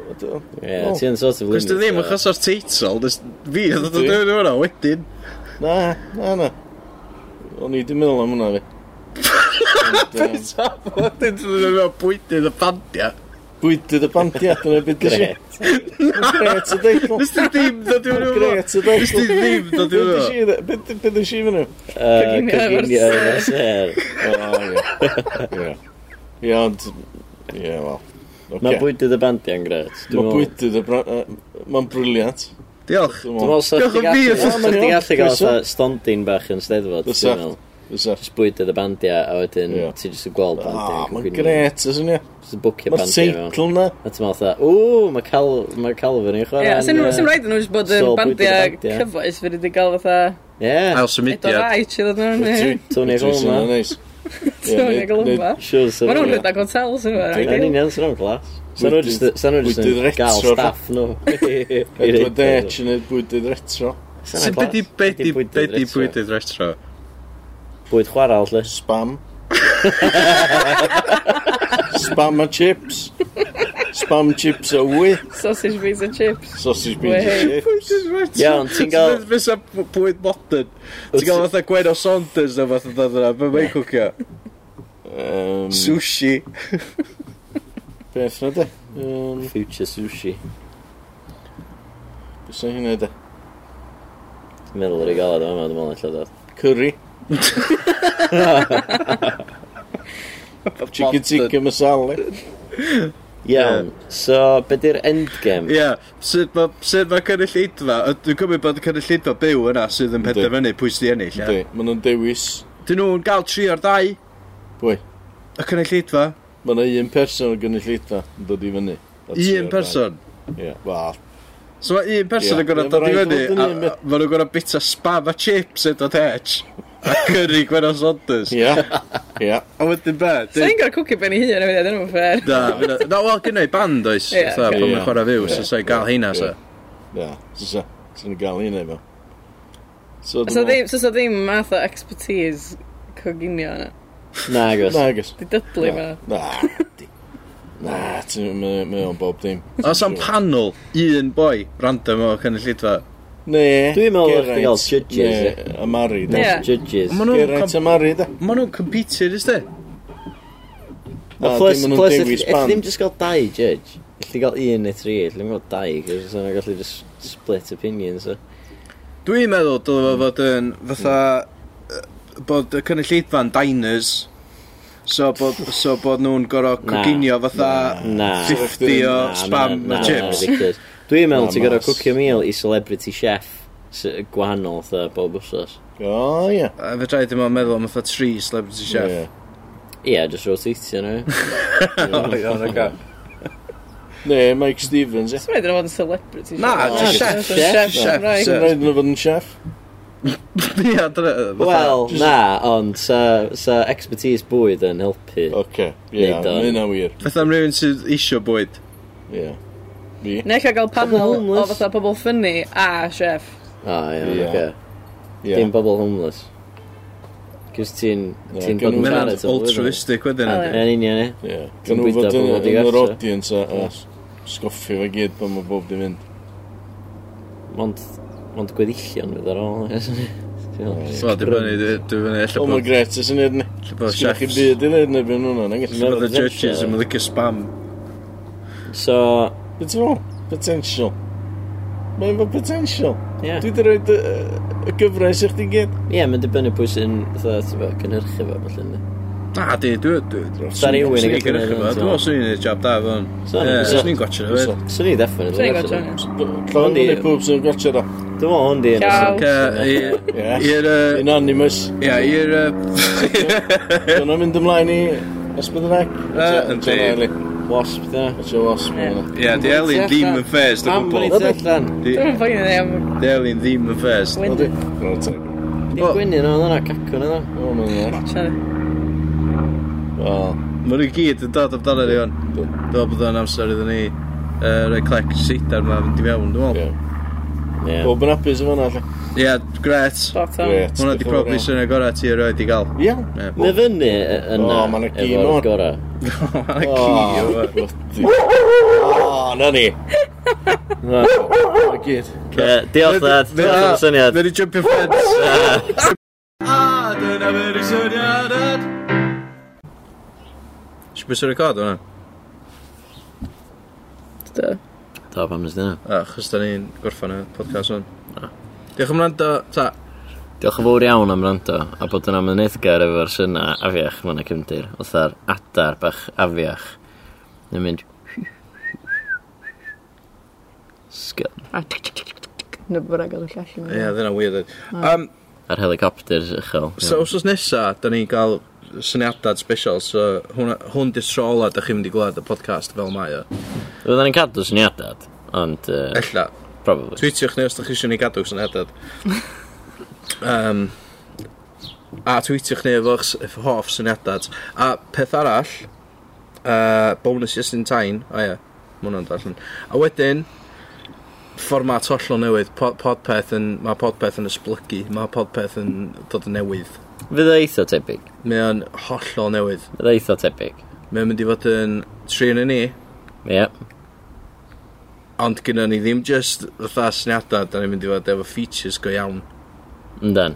Speaker 7: Ydw. Wel,
Speaker 2: ti'n sort of
Speaker 1: Cos
Speaker 2: limit.
Speaker 1: dwi ddim yn
Speaker 2: yy.
Speaker 1: chaso'r teitl, dys- fi oedd o'n dweud hwnna wedyn.
Speaker 7: Na, na, na. O'n i di meddwl am hwnna fi. Ond, yym,
Speaker 1: Ta, wedyn dwi ddim yn bwydydd y bandio.
Speaker 7: Bwydydd y bandiad yn y byd i si.
Speaker 2: Gret.
Speaker 7: Gret y deitl.
Speaker 1: Nes di [laughs] ddim dod i hwnnw.
Speaker 7: Gret y deitl.
Speaker 1: Nes di ddim dod i hwnnw.
Speaker 7: Byd i si fan nhw?
Speaker 2: Yy,
Speaker 3: Coginio
Speaker 2: Coginio
Speaker 3: efo'r
Speaker 2: efo'r ser.
Speaker 7: O, ie. Ie. Ie, ond... Ie, wel.
Speaker 2: Mae
Speaker 7: Oce.
Speaker 2: bwydydd y bandiau'n gret.
Speaker 7: Mae bwydydd y bra- yy, Mae'n briliant.
Speaker 1: Diolch.
Speaker 7: Dwi'n
Speaker 2: Dwi'n meddwl
Speaker 7: meddwl.
Speaker 2: sa
Speaker 1: Diolch am fi,
Speaker 2: chdi gallu sa
Speaker 7: Ma'n
Speaker 2: chdi
Speaker 7: iawn,
Speaker 2: gallu gael
Speaker 7: croeso.
Speaker 2: fatha stondin bach yn steddfod.
Speaker 7: Fysa.
Speaker 2: Dwi'n meddwl.
Speaker 7: Fysa.
Speaker 2: Just bwyd y bandiau, a wedyn
Speaker 7: Ie.
Speaker 2: ti jyst yn gweld
Speaker 7: Ah,
Speaker 2: bandiau.
Speaker 7: mae'n gret, ysyn ni?
Speaker 2: Just yn bwcio
Speaker 7: Mae'r
Speaker 2: bandiau mewn.
Speaker 7: teitl na.
Speaker 2: A ti'n meddwl fatha, ww, mae Cal- mae Calvin yn
Speaker 3: Ie,
Speaker 2: chwarae.
Speaker 3: sy'n
Speaker 2: yn,
Speaker 3: sy'n
Speaker 2: yy,
Speaker 3: rhaid yn nhw jyst bod yn
Speaker 2: Sol bwydydd y
Speaker 3: bandiau
Speaker 2: bandiau.
Speaker 3: cyfoes fyd wedi cael fatha
Speaker 2: Ie,
Speaker 1: Ail
Speaker 3: edo
Speaker 1: symudiad.
Speaker 3: rai i ddod nhw'n
Speaker 7: Dwi-
Speaker 3: [laughs]
Speaker 2: Tony
Speaker 7: dwi- sy'n
Speaker 2: Goleman.
Speaker 1: [laughs]
Speaker 7: neis. Ie,
Speaker 3: Tony
Speaker 7: neud-
Speaker 3: Goleman.
Speaker 7: neud-
Speaker 2: siwr sy'n
Speaker 3: Mae nhw'n
Speaker 2: rhaid.
Speaker 3: rhedeg hotels yn fawr.
Speaker 2: Yn union sy'n rhaid glas. Sa'n nhw jyst
Speaker 7: Bwydydd-
Speaker 2: sa'n nhw jyst
Speaker 7: bwydydd
Speaker 2: yn gael
Speaker 7: retro,
Speaker 2: staff nhw.
Speaker 7: [laughs] Edward Dech yn neud bwydydd retro.
Speaker 1: Sut beth i beth i beth i bwydydd retro?
Speaker 2: Bwyd chwarael, lle.
Speaker 1: [laughs]
Speaker 7: Spam. Spam a chips. Spam chips a wy.
Speaker 3: Sausage beans and chips.
Speaker 7: Sausage beans a
Speaker 3: Wei.
Speaker 7: chips.
Speaker 2: Ie, ond ti'n gael-
Speaker 1: Fysa bwyd modern. Ti'n gael fatha Gwen o Saunders neu fath o dda dda. Be mae'n cwcio?
Speaker 7: Um,
Speaker 1: Sushi.
Speaker 7: Beth na de? Um,
Speaker 2: Future sushi.
Speaker 7: Beth na hynna de?
Speaker 2: Dwi'n meddwl ar ei gael yma, dwi'n meddwl allan dod.
Speaker 1: [laughs]
Speaker 7: Curry. Chicken tikka masala.
Speaker 2: Iawn, so be di'r endgame?
Speaker 1: Ie. Sut ma- sut mae cynulleidfa... y- Dwi'n cymryd bod y cynulleidfa byw yna sydd yn penderfynu pwy sydd i ennill. ie?
Speaker 7: Ynddi, maen nhw'n dewis.
Speaker 1: Dyn nhw'n gael tri o'r dau.
Speaker 7: Pwy?
Speaker 1: Y cynulleidfa.
Speaker 7: Mae yna un person o'r gynulleidfa yn dod i fyny. A ti
Speaker 1: Un
Speaker 7: o'r
Speaker 1: person.
Speaker 7: rhain. Ie, wel.
Speaker 1: So mae un person
Speaker 7: Ie.
Speaker 1: yn gorau
Speaker 7: Ie, ma'
Speaker 1: dod i
Speaker 7: raid
Speaker 1: fyny,
Speaker 7: fod yn
Speaker 1: a
Speaker 7: un
Speaker 1: a-
Speaker 7: bit.
Speaker 1: ma' nhw'n gorau bita spam a chips edo tech, a
Speaker 7: [laughs]
Speaker 1: curry Gwenno Saunders.
Speaker 7: Ie, ie.
Speaker 1: A wedyn be?
Speaker 3: Sa'n
Speaker 1: Dyn-
Speaker 3: i'n gael cwcio ben i hun yn fyddi, dyn nhw'n ffer.
Speaker 1: Na, ma' nhw- na, wel, gynnau band oes,
Speaker 3: Ie,
Speaker 1: fatha,
Speaker 7: ocê.
Speaker 1: pan mae'n
Speaker 7: Ie.
Speaker 1: chwarae fyw, so
Speaker 7: Ie.
Speaker 1: sa'i gael heina, so.
Speaker 7: Ie, sy'n sy'n gael un efo. So,
Speaker 3: So
Speaker 7: dwi'n meddwl-
Speaker 3: ddim, so ddim math o expertise coginio yna.
Speaker 2: Na, agos.
Speaker 7: Na, agos.
Speaker 3: Di dydlu
Speaker 7: Na,
Speaker 3: yma.
Speaker 7: na, di- na, ti'n mynd o'n bob dim.
Speaker 1: Os am panel, un boi, random o cynulleidfa.
Speaker 7: Ne,
Speaker 2: Dwi'n meddwl bo' chdi gael
Speaker 7: Geraint,
Speaker 2: judges,
Speaker 7: ne, A Mari, da.
Speaker 3: Ie.
Speaker 2: Judges.
Speaker 1: Ma' nhw'n
Speaker 7: Geraint a
Speaker 1: com-
Speaker 7: Mari, da.
Speaker 1: ma' nhw'n competir, ys de?
Speaker 7: Na,
Speaker 2: plus,
Speaker 7: dim yn
Speaker 2: plus,
Speaker 7: dewis
Speaker 2: if
Speaker 7: band.
Speaker 2: ddim just gael dau judge, Alli gael un neu tri, alli ddim gael dau, cos yna gallu just split opinions. So.
Speaker 1: Dwi'n meddwl dylai fo fod yn fatha yy, bod y cynulleidfa'n diners so bod, so bod nhw'n gorau
Speaker 2: Na,
Speaker 1: coginio fatha
Speaker 2: na,
Speaker 1: 50 o
Speaker 2: na,
Speaker 1: spam
Speaker 2: na,
Speaker 1: a
Speaker 2: na,
Speaker 1: chips.
Speaker 2: na, ridiculous. Dwi'n meddwl
Speaker 7: Na,
Speaker 2: ti'n gorau
Speaker 7: mas.
Speaker 2: cwcio meal i celebrity chef sy- gwahanol tha bob wrthos.
Speaker 7: O, ie.
Speaker 1: A fe trai ddim ond meddwl am fatha tri celebrity
Speaker 7: Ie.
Speaker 1: chef. [laughs]
Speaker 2: Ie, yeah, just rotatio nhw.
Speaker 7: Ne, Mike Stevens, ie.
Speaker 3: Sa'n rhaid yn fod yn celebrity.
Speaker 1: Na,
Speaker 3: siarad.
Speaker 1: ti
Speaker 3: Na,
Speaker 1: chef,
Speaker 3: so
Speaker 2: chef,
Speaker 3: chef,
Speaker 1: chef,
Speaker 3: Cymraeg.
Speaker 1: chef.
Speaker 7: Sy'n rhaid yn fod yn chef?
Speaker 1: Ia, dyna- [laughs] fatha-
Speaker 2: Wel, na, ond sa, sa expertise bwyd yn helpu.
Speaker 7: Oce, ie,
Speaker 2: Neud o'n-
Speaker 7: mae hynna wir.
Speaker 1: Fatha am rhywun sydd isio bwyd.
Speaker 7: Ie. Fi?
Speaker 3: Neu eich gael panel o
Speaker 2: homeless.
Speaker 3: fatha pobl ffynnu a chef.
Speaker 2: O, iawn,
Speaker 7: Ie.
Speaker 2: oce.
Speaker 7: Ie.
Speaker 2: Dim bobl homeless. Cys ti'n...
Speaker 7: Ie,
Speaker 2: Ti'n bod
Speaker 7: gynna
Speaker 2: yn
Speaker 7: nhw-
Speaker 1: Mae'n
Speaker 2: charitable.
Speaker 1: altruistic wedyn.
Speaker 3: A,
Speaker 1: yndi?
Speaker 2: Yn union, ie.
Speaker 7: Ie.
Speaker 2: Ti'n
Speaker 7: Gan nhw
Speaker 2: bwydo
Speaker 7: fod yn
Speaker 2: pobol
Speaker 7: yn yr
Speaker 2: digartre.
Speaker 7: audience a a sgoffi fe gyd pan mae bob di mynd.
Speaker 2: Mond, mond gweddillion fydd ar ôl. ie, so-
Speaker 1: Wel, dwi'n fyny, dwi'n fyny, ella
Speaker 2: Oh
Speaker 7: O, mae
Speaker 1: bod
Speaker 7: gret, ysyn ni'n ni.
Speaker 1: ella bod
Speaker 7: Sgwch chi
Speaker 1: chefs.
Speaker 7: byd i neud neu byn hwnna, nag
Speaker 1: Ella
Speaker 7: ysyn?
Speaker 1: bod y judges yn mynd licio spam.
Speaker 2: So,
Speaker 7: Beth ti'n meddwl? Potential. Mae'n fawr potential.
Speaker 2: ie.
Speaker 7: Dwi di roed y y gyfres i chdi gyd.
Speaker 2: Ie, mae'n dibynnu pwy sy'n fatha, ti'n fawr, cynhyrchu fo, felly. yndi?
Speaker 1: Na, di, dwi'n... Dwi'n
Speaker 2: Sa rywun yn
Speaker 1: Dwi'n
Speaker 2: gallu
Speaker 1: gyrchu
Speaker 2: gwneud
Speaker 1: fo.
Speaker 2: hwn,
Speaker 1: Dwi'n
Speaker 2: so-
Speaker 1: meddwl swn i'n neud job da fo.
Speaker 2: So,
Speaker 1: Ie,
Speaker 2: so-
Speaker 1: swn i'n gotcha fo.
Speaker 7: So,
Speaker 2: Swn i definitely.
Speaker 3: Swn i'n
Speaker 2: actually.
Speaker 3: gwatsio hwnna.
Speaker 7: Llawn i ni pob sy'n gotcha da.
Speaker 2: Dwi'n meddwl hwn di yn
Speaker 3: Ciao.
Speaker 1: Ac yy, i-
Speaker 7: Ie.
Speaker 1: i'r... yy,
Speaker 7: Unanimous.
Speaker 1: Ia, i'r...
Speaker 7: Dwi'n mynd ymlaen i Ysbyddag.
Speaker 1: yndi.
Speaker 2: wasp dda.
Speaker 7: Gotcha wasp.
Speaker 3: Ie.
Speaker 7: hwnna.
Speaker 1: [laughs] Ia, di Elin ddim yn ffes, dy
Speaker 2: Pam e- bod ni
Speaker 1: gwbl.
Speaker 2: ti allan?
Speaker 1: Di
Speaker 3: Dwi'n fawr i'n ei am
Speaker 1: Elin ddim yn ffes.
Speaker 7: Ydy.
Speaker 3: wyn.
Speaker 7: Wel, teg.
Speaker 2: Di gwynnu nhw, dyna cacwn yna.
Speaker 7: O, mae'n iawn. Wel,
Speaker 1: Mae nhw gyd yn dod amdano ni hwn. Dwi'n meddwl bod o'n amser iddyn ni yy, rhoi clec seidar ma fynd i mewn, dwi'n meddwl.
Speaker 7: ie.
Speaker 2: Ie.
Speaker 7: Bob yn apus efo hwnna, lle.
Speaker 1: Ie, gret.
Speaker 3: Spot on.
Speaker 7: Gret.
Speaker 1: Hwna di probably sy'n gorau ti erioed i gael.
Speaker 7: Iawn.
Speaker 1: Ie.
Speaker 2: Mae fyny y- yna
Speaker 7: O, ma' 'na gi
Speaker 2: efo'r
Speaker 7: mor.
Speaker 2: gorau.
Speaker 1: Mae'n
Speaker 7: Oh,
Speaker 1: ci o fe.
Speaker 7: O, na ni. Na, na gyd.
Speaker 2: Ie, Diolch dad, diolch am y syniad.
Speaker 1: Mae'n jumping fence.
Speaker 2: [laughs]
Speaker 6: A dyna fyr i syniad ad
Speaker 1: Si'n bwysau record hwnna?
Speaker 3: Do.
Speaker 2: Da, pam nes dyna.
Speaker 1: A, chys da ni'n gorffan y podcast hwn. Diolch am rando. Ta.
Speaker 2: Diolch yn fawr iawn am rando, a bod yna mynd eithgar efo'r syna afiach ma'n y cymdir, o'r adar bach afiach. Yn mynd... Sgil.
Speaker 3: A tic, tic, tic, tic, tic. Neu bod agor y llall i
Speaker 1: Ie, dyna weird. Um,
Speaker 2: Ar helicopters uchel.
Speaker 1: so, wrthos nesa, da ni'n gael syniadad special, so hwnna- hwn di trola da chi'n mynd i gwlad y podcast fel mae o.
Speaker 2: Fydda ni'n cadw syniadad, ond... Uh,
Speaker 1: Ella,
Speaker 2: probably.
Speaker 1: Tweetiwch ni os ydych chi eisiau ni gadw syniadad. Um, a tweetiwch ni efo'ch s- efo hoff syniadad. A peth arall, uh, bonus just in time, o ie, ma' hwnna'n darllen. A wedyn, fformat hollol newydd, pod, podpeth yn, mae podpeth yn esblygu, mae podpeth yn dod yn newydd.
Speaker 2: Fydda eitha tebyg.
Speaker 1: Mae o'n hollol newydd.
Speaker 2: Fydda eitha tebyg.
Speaker 1: Mae o'n mynd i fod yn tri yn ni,
Speaker 2: Ie.
Speaker 1: ond gyda ni ddim just fatha syniadau, da ni'n mynd i fod efo features go iawn.
Speaker 2: Yndan.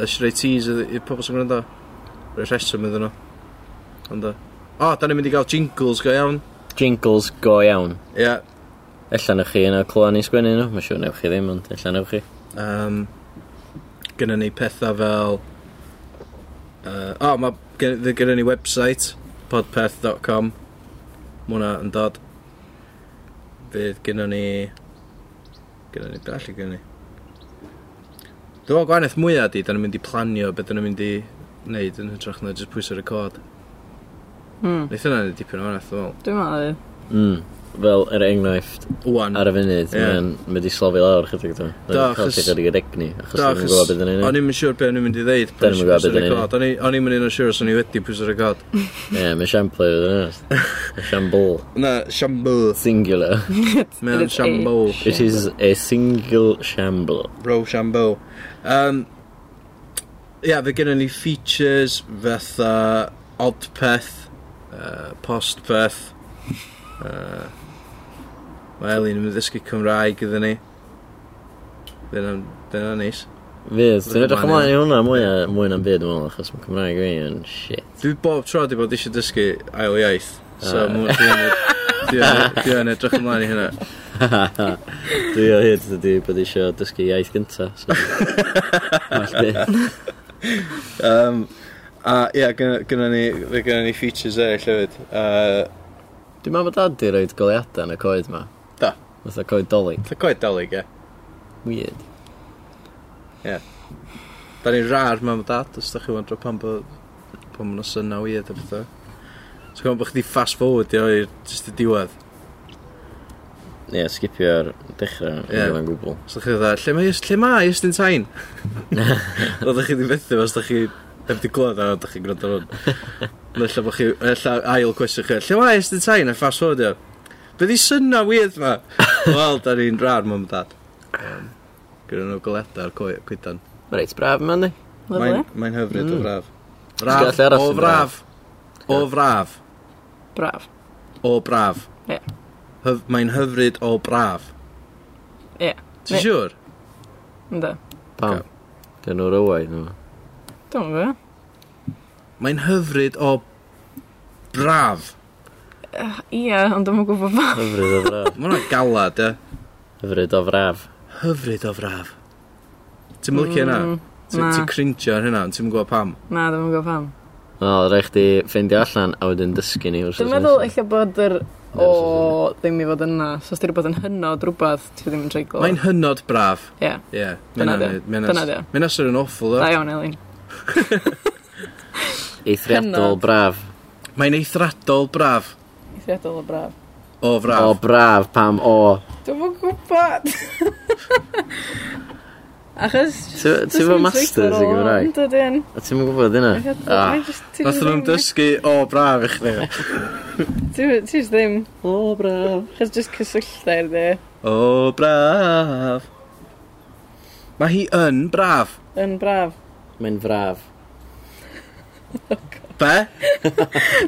Speaker 1: Ys rei teas idd- i'r pobl sy'n gwrando. Rei rheswm iddyn nhw. Ond o. O, da ni'n mynd i gael jingles go iawn.
Speaker 2: Jingles go iawn.
Speaker 1: Ie. Yeah.
Speaker 2: Ella newch chi yn o clywed ni sgwennu nhw. Mae'n siŵr newch chi ddim, ond ella newch chi.
Speaker 1: Um, gynna ni pethau fel... Uh, o, mae gynna ni website, podpeth.com. Mae hwnna yn dod. Fydd gynna ni... Gynna ni, beth allu gynna ni? Dwi'n meddwl gwahaniaeth mwyaf di, da ni'n mynd i planio beth da ni'n mynd i wneud yn hytrach na jyst pwysau record.
Speaker 3: Hmm.
Speaker 1: Neith yna ni dipyn o wanaeth, dwi'n meddwl.
Speaker 3: Dwi'n meddwl. e.
Speaker 2: Mm. Fel yr enghraifft
Speaker 1: Wan.
Speaker 2: ar y funud,
Speaker 1: Mm. Ie.
Speaker 2: mae'n mynd i slofi lawr chydig dwi'n.
Speaker 1: Do,
Speaker 2: Dwi'n cael
Speaker 1: achos-
Speaker 2: chydig i'r egni, achos
Speaker 1: Da,
Speaker 2: dwi'n gwybod beth yn
Speaker 1: O'n
Speaker 2: unig.
Speaker 1: i'm yn siŵr beth o'n i'n mynd i ddeud.
Speaker 2: Da, ni'm yn gwbod be' dan ni'n
Speaker 1: O'n i'n mynd i'n siŵr os o'n i wedi pwys ar y god.
Speaker 2: Ie, mae'n siambl i fod yn Siambl.
Speaker 1: Na, siambl.
Speaker 2: Singular.
Speaker 1: Mewn
Speaker 3: It's
Speaker 1: siambl.
Speaker 2: It is a single shamble.
Speaker 1: Bro siambl. Um, Ia, fe gynnu ni features fatha Oddpeth, uh, Postpeth. Uh, Mae Elin yn mynd ddysgu Cymraeg iddyn ni. Dyna'n dyna neis.
Speaker 2: Fydd, dwi'n edrych
Speaker 1: Mae'n-
Speaker 2: ymlaen i hwnna mwy, a- mwy na'n byd dwi'n meddwl, achos mae Cymraeg fi yn shit. [laughs]
Speaker 1: Dwi bob tro di bod eisiau dysgu ail iaith. So,
Speaker 2: Ah.
Speaker 1: mw- dwi yn [laughs] ed- dwi yn- dwi yn edrych ymlaen i hynna.
Speaker 2: dwi o hyd ydy bod eisiau dysgu iaith gynta.
Speaker 1: [laughs]
Speaker 2: So. All beth.
Speaker 1: Um, a ia, gynna gynna ni, fe gynna ni features eraill hefyd. Uh,
Speaker 2: Dwi'n meddwl bod dad di roed goliadau yn y coed ma.
Speaker 1: Da.
Speaker 2: Fytha coed dolig.
Speaker 1: Tha coed dalig, ie.
Speaker 2: Weird.
Speaker 1: Da ni'n rar mam a dad, os da chi wandro pan bod pan ma'n syna weird a bethau. So gwybod bod chdi fast forward i o'r jyst y diwedd.
Speaker 2: Ie, yeah, skipio'r dechrau yn
Speaker 1: Ie.
Speaker 2: yeah. gwbl.
Speaker 1: Os da chi dda, lle mae ys- lle mae ys dyn
Speaker 2: [laughs]
Speaker 1: tain? Roedd chi di fethu, os da chi heb di glwyd a da chi'n gwrando
Speaker 2: [laughs]
Speaker 1: hwn. Ella bod chi, ella ail cwestiwn chi, lle mae ys dyn tain a fast forward i o? Be di syna weird ma?
Speaker 2: [laughs]
Speaker 1: Wel, da ni'n rar mam a dad. Um, Gyda nhw goledau'r coe- coedan.
Speaker 2: Mae'n reit braf yma, ni.
Speaker 3: Lyfli.
Speaker 1: Mae'n mae'n hyfryd o
Speaker 2: Mm.
Speaker 1: fraf.
Speaker 2: Ti'n gallu
Speaker 1: Braf,
Speaker 2: aros
Speaker 1: o
Speaker 2: yn
Speaker 1: fraf. O fraf,
Speaker 3: Braf.
Speaker 1: o braf.
Speaker 3: Ie.
Speaker 1: Hyf- Mae'n hyfryd o braf.
Speaker 3: Ie.
Speaker 1: Ti'n
Speaker 3: Ne-
Speaker 1: siŵr?
Speaker 3: Ynddo.
Speaker 2: Pam? Dyn nhw'r ywaid nhw.
Speaker 3: Dwi'n meddwl. e.
Speaker 1: Mae'n hyfryd o braf.
Speaker 3: Ie, ond dwi'n meddwl gwybod fa.
Speaker 2: Hyfryd o fraf.
Speaker 1: Mae hwnna galad, e.
Speaker 2: Hyfryd o fraf.
Speaker 1: Hyfryd o braf. Ti'n mylicio hynna? Ti-
Speaker 3: Mm, na.
Speaker 1: Ti'n cringe ar hynna, ond ti'n gwybod pam.
Speaker 3: Na, dwi'n meddwl gwybod pam.
Speaker 2: Wel, rhaid chdi ffeindio allan a wedyn dysgu ni.
Speaker 3: Dwi'n meddwl eich bod yr o ddim i fod yna. So os ti'n bod yn hynod rhywbeth, ti ddim yn treiglo.
Speaker 1: Mae'n hynod braf.
Speaker 3: Ie.
Speaker 1: Ie.
Speaker 3: Dyna di o. Dyna di o.
Speaker 1: Mae'n asr yn awful,
Speaker 3: Da
Speaker 1: e.
Speaker 3: iawn, Elin.
Speaker 2: Eithriadol
Speaker 3: Hynod.
Speaker 2: braf.
Speaker 1: Mae'n eithradol braf.
Speaker 3: Eithriadol o braf.
Speaker 1: O
Speaker 2: O
Speaker 1: fraf.
Speaker 2: braf, pam o.
Speaker 3: Dwi'n meddwl gwybod. [laughs] Achos...
Speaker 2: Ti- ti efo masters i Gymraeg?
Speaker 3: Dwi'n dyn.
Speaker 2: A ti'n mynd gwybod hynna? Ah,
Speaker 1: Nath nhw'n dysgu o braf i chdi.
Speaker 3: Ti'n ddim.
Speaker 2: O braf.
Speaker 3: Chos jyst cysyllta i'r de.
Speaker 1: O braf Mae hi yn braf
Speaker 3: Yn braf.
Speaker 2: Mae'n fraf.
Speaker 1: Be?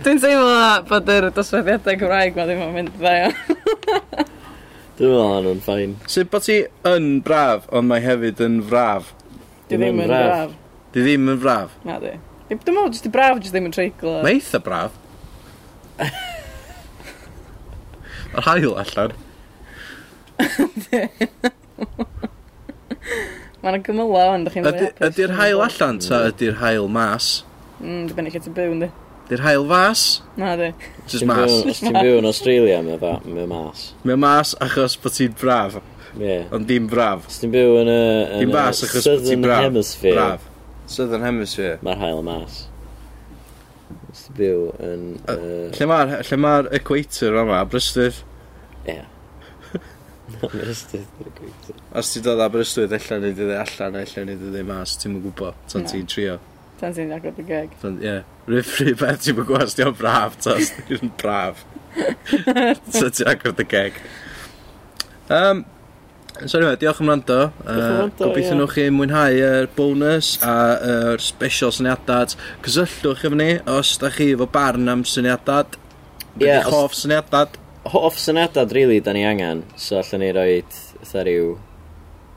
Speaker 3: Dwi'n teimlo na bod yr dosbarthiadau Cymraeg ma ddim yn mynd dda iawn.
Speaker 2: Dwi'n meddwl na nhw'n ffain.
Speaker 1: Sut bod ti yn braf ond mae hefyd yn fraf
Speaker 3: Dwi
Speaker 2: Ddim
Speaker 3: ddim
Speaker 2: yn
Speaker 3: yn braf.
Speaker 1: Di ddim yn fraf
Speaker 3: Na di. Di- Dwi'n meddwl, jyst i braf, jyst ddim yn treiglo.
Speaker 1: Mae eitha braf Yr hael allan
Speaker 3: Mae yna gymyla ond chi'n fwy
Speaker 1: Ydy-
Speaker 3: hapus.
Speaker 1: Ydy'r hael allan ta ydy'r hael mas?
Speaker 3: Mm, Dwi'n benni lle ti'n byw, ynddi.
Speaker 1: Ydy'r hael fas?
Speaker 3: Na di.
Speaker 1: Just
Speaker 2: Ti'n byw-
Speaker 1: mas
Speaker 2: Os ti'n byw yn Australia, mae fa- mae mas.
Speaker 1: Mae mas achos bod ti'n braf
Speaker 2: Ie.
Speaker 1: ond dim braf
Speaker 2: Os ti'n byw yn y... yn
Speaker 1: Dim
Speaker 2: y
Speaker 1: bas achos bod ti'n
Speaker 2: Southern
Speaker 1: braf
Speaker 2: Hemisphere,
Speaker 1: Braf Southern Hemisphere
Speaker 2: mae'r hael yn mas. Os ti'n byw yn... yy,
Speaker 1: Lle mae'r lle ma'r equator yma, Aberystwyth
Speaker 2: Ie. Na, mae'n [laughs] ystydd yn gweithio.
Speaker 1: Os ti'n dod Aberystwyth, ella wneud iddi allan, ella wneud iddi mas, ti'n mwyn gwybod, tan
Speaker 3: Na.
Speaker 1: ti'n trio.
Speaker 3: Tan sy'n agor dy geg.
Speaker 1: Tan, ie. [laughs] Rhyfri beth ti'n mwyn gwybod, ti'n braf, ta, os ti'n
Speaker 2: [laughs]
Speaker 1: braf. so ti'n agor dy geg. Um, so anyway, diolch am rando.
Speaker 2: am
Speaker 1: Uh,
Speaker 2: wrando, ie.
Speaker 1: gobeithio nhw'ch chi mwynhau yr bonus a yr special syniadad. Cysylltwch efo ni os da chi efo barn am syniadad. Be
Speaker 2: Ie,
Speaker 1: yeah,
Speaker 2: os-
Speaker 1: hoff syniadad.
Speaker 2: Hoff syniadad, really, da ni angen. So, allan ni roi eitha rhyw...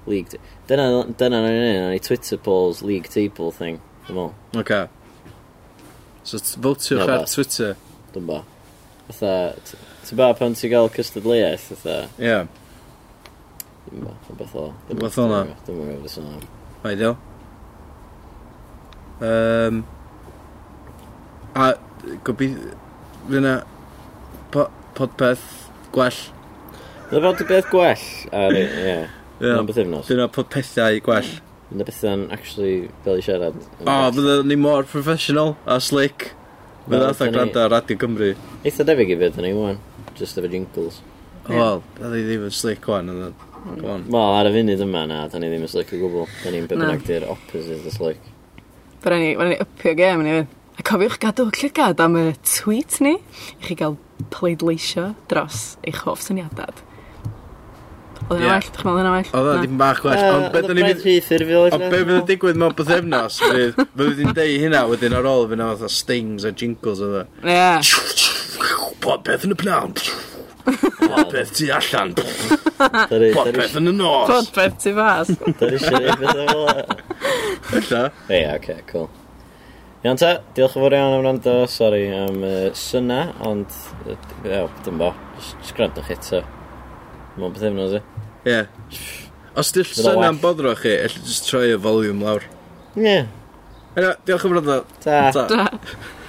Speaker 2: League... Dyna, dyna ni'n ei wneud, ni Twitter polls, league table thing. Dwi'n meddwl.
Speaker 1: OK. So t- votiwch
Speaker 2: Na
Speaker 1: ar
Speaker 2: fo.
Speaker 1: Twitter.
Speaker 2: Dwi'n ba. Fytha, t- ti'n ba pan ti'n gael cystadleuaeth, fytha,
Speaker 1: Ie, yeah,
Speaker 2: dwi'n ba, rhywbeth o.
Speaker 1: Rhywbeth fel 'na.
Speaker 2: Dwi'n gwybod beth o'n
Speaker 1: ideal. Um, a gobeithio... Fy na... Po, podpeth gwell.
Speaker 2: Dwi'n bod y beth gwell, ar, ie,
Speaker 1: Ie. Mm,
Speaker 2: yn beth efnos.
Speaker 1: Fy na podpethau gwell.
Speaker 2: Yn y beth yn actually fel i siarad.
Speaker 1: O, oh, fydda ni mor professional a slick. Fydda
Speaker 2: Wel,
Speaker 1: atha
Speaker 2: dyn ni-
Speaker 1: gwrando ar Radio Cymru.
Speaker 2: Eitha debyg i beth yn ei wan, just efo jingles.
Speaker 1: O, Wel, da ni ddim yn slick wan. ond, Come on.
Speaker 2: Wel, ar y funud yma na, da ni ddim yn slick o gwbl. Da ni'n beth
Speaker 3: Na.
Speaker 2: bynnag di'r opposite o slick.
Speaker 3: Byddwn ni, byddwn ni upio gem ni fydd. A cofiwch gadw llygad am y tweet ni i chi gael pleidleisio dros eich hoff syniadad. Oedd
Speaker 1: Ie.
Speaker 3: yna well, dwi'n meddwl yna well.
Speaker 1: Oedd o, dim bach gwell. Ond beth o'n i
Speaker 2: mynd...
Speaker 1: fydd... Ond be fydd yn digwydd mewn bythefnos? Fydd fydd yn deud hynna wedyn ar ôl fydd yna fatha stings a jingles e. o [laughs] dda.
Speaker 3: Ie,
Speaker 1: Popeth yn y pnawn. Popeth tu allan. Popeth
Speaker 2: digwydd?
Speaker 1: yn y nos.
Speaker 3: podpeth ti fas.
Speaker 2: Da ni eisiau ei beth o'n
Speaker 1: Ella.
Speaker 2: Ie, yeah, oce, okay, cool. Iawn ta, diolch yn fawr iawn am rando, sori am uh, syna, ond, yy, ie, uh, dim bo, Jyst- jyst gwrandwch eto. Mae'n beth efno, zi.
Speaker 1: Ie. Os dill
Speaker 2: Fydd o'n
Speaker 1: syna'n
Speaker 2: well.
Speaker 1: bodro chi, ella just troi y volume lawr.
Speaker 2: Ie,
Speaker 1: Ena, diolch yn fawr o dda.
Speaker 2: ta.
Speaker 1: Ta.
Speaker 3: Da.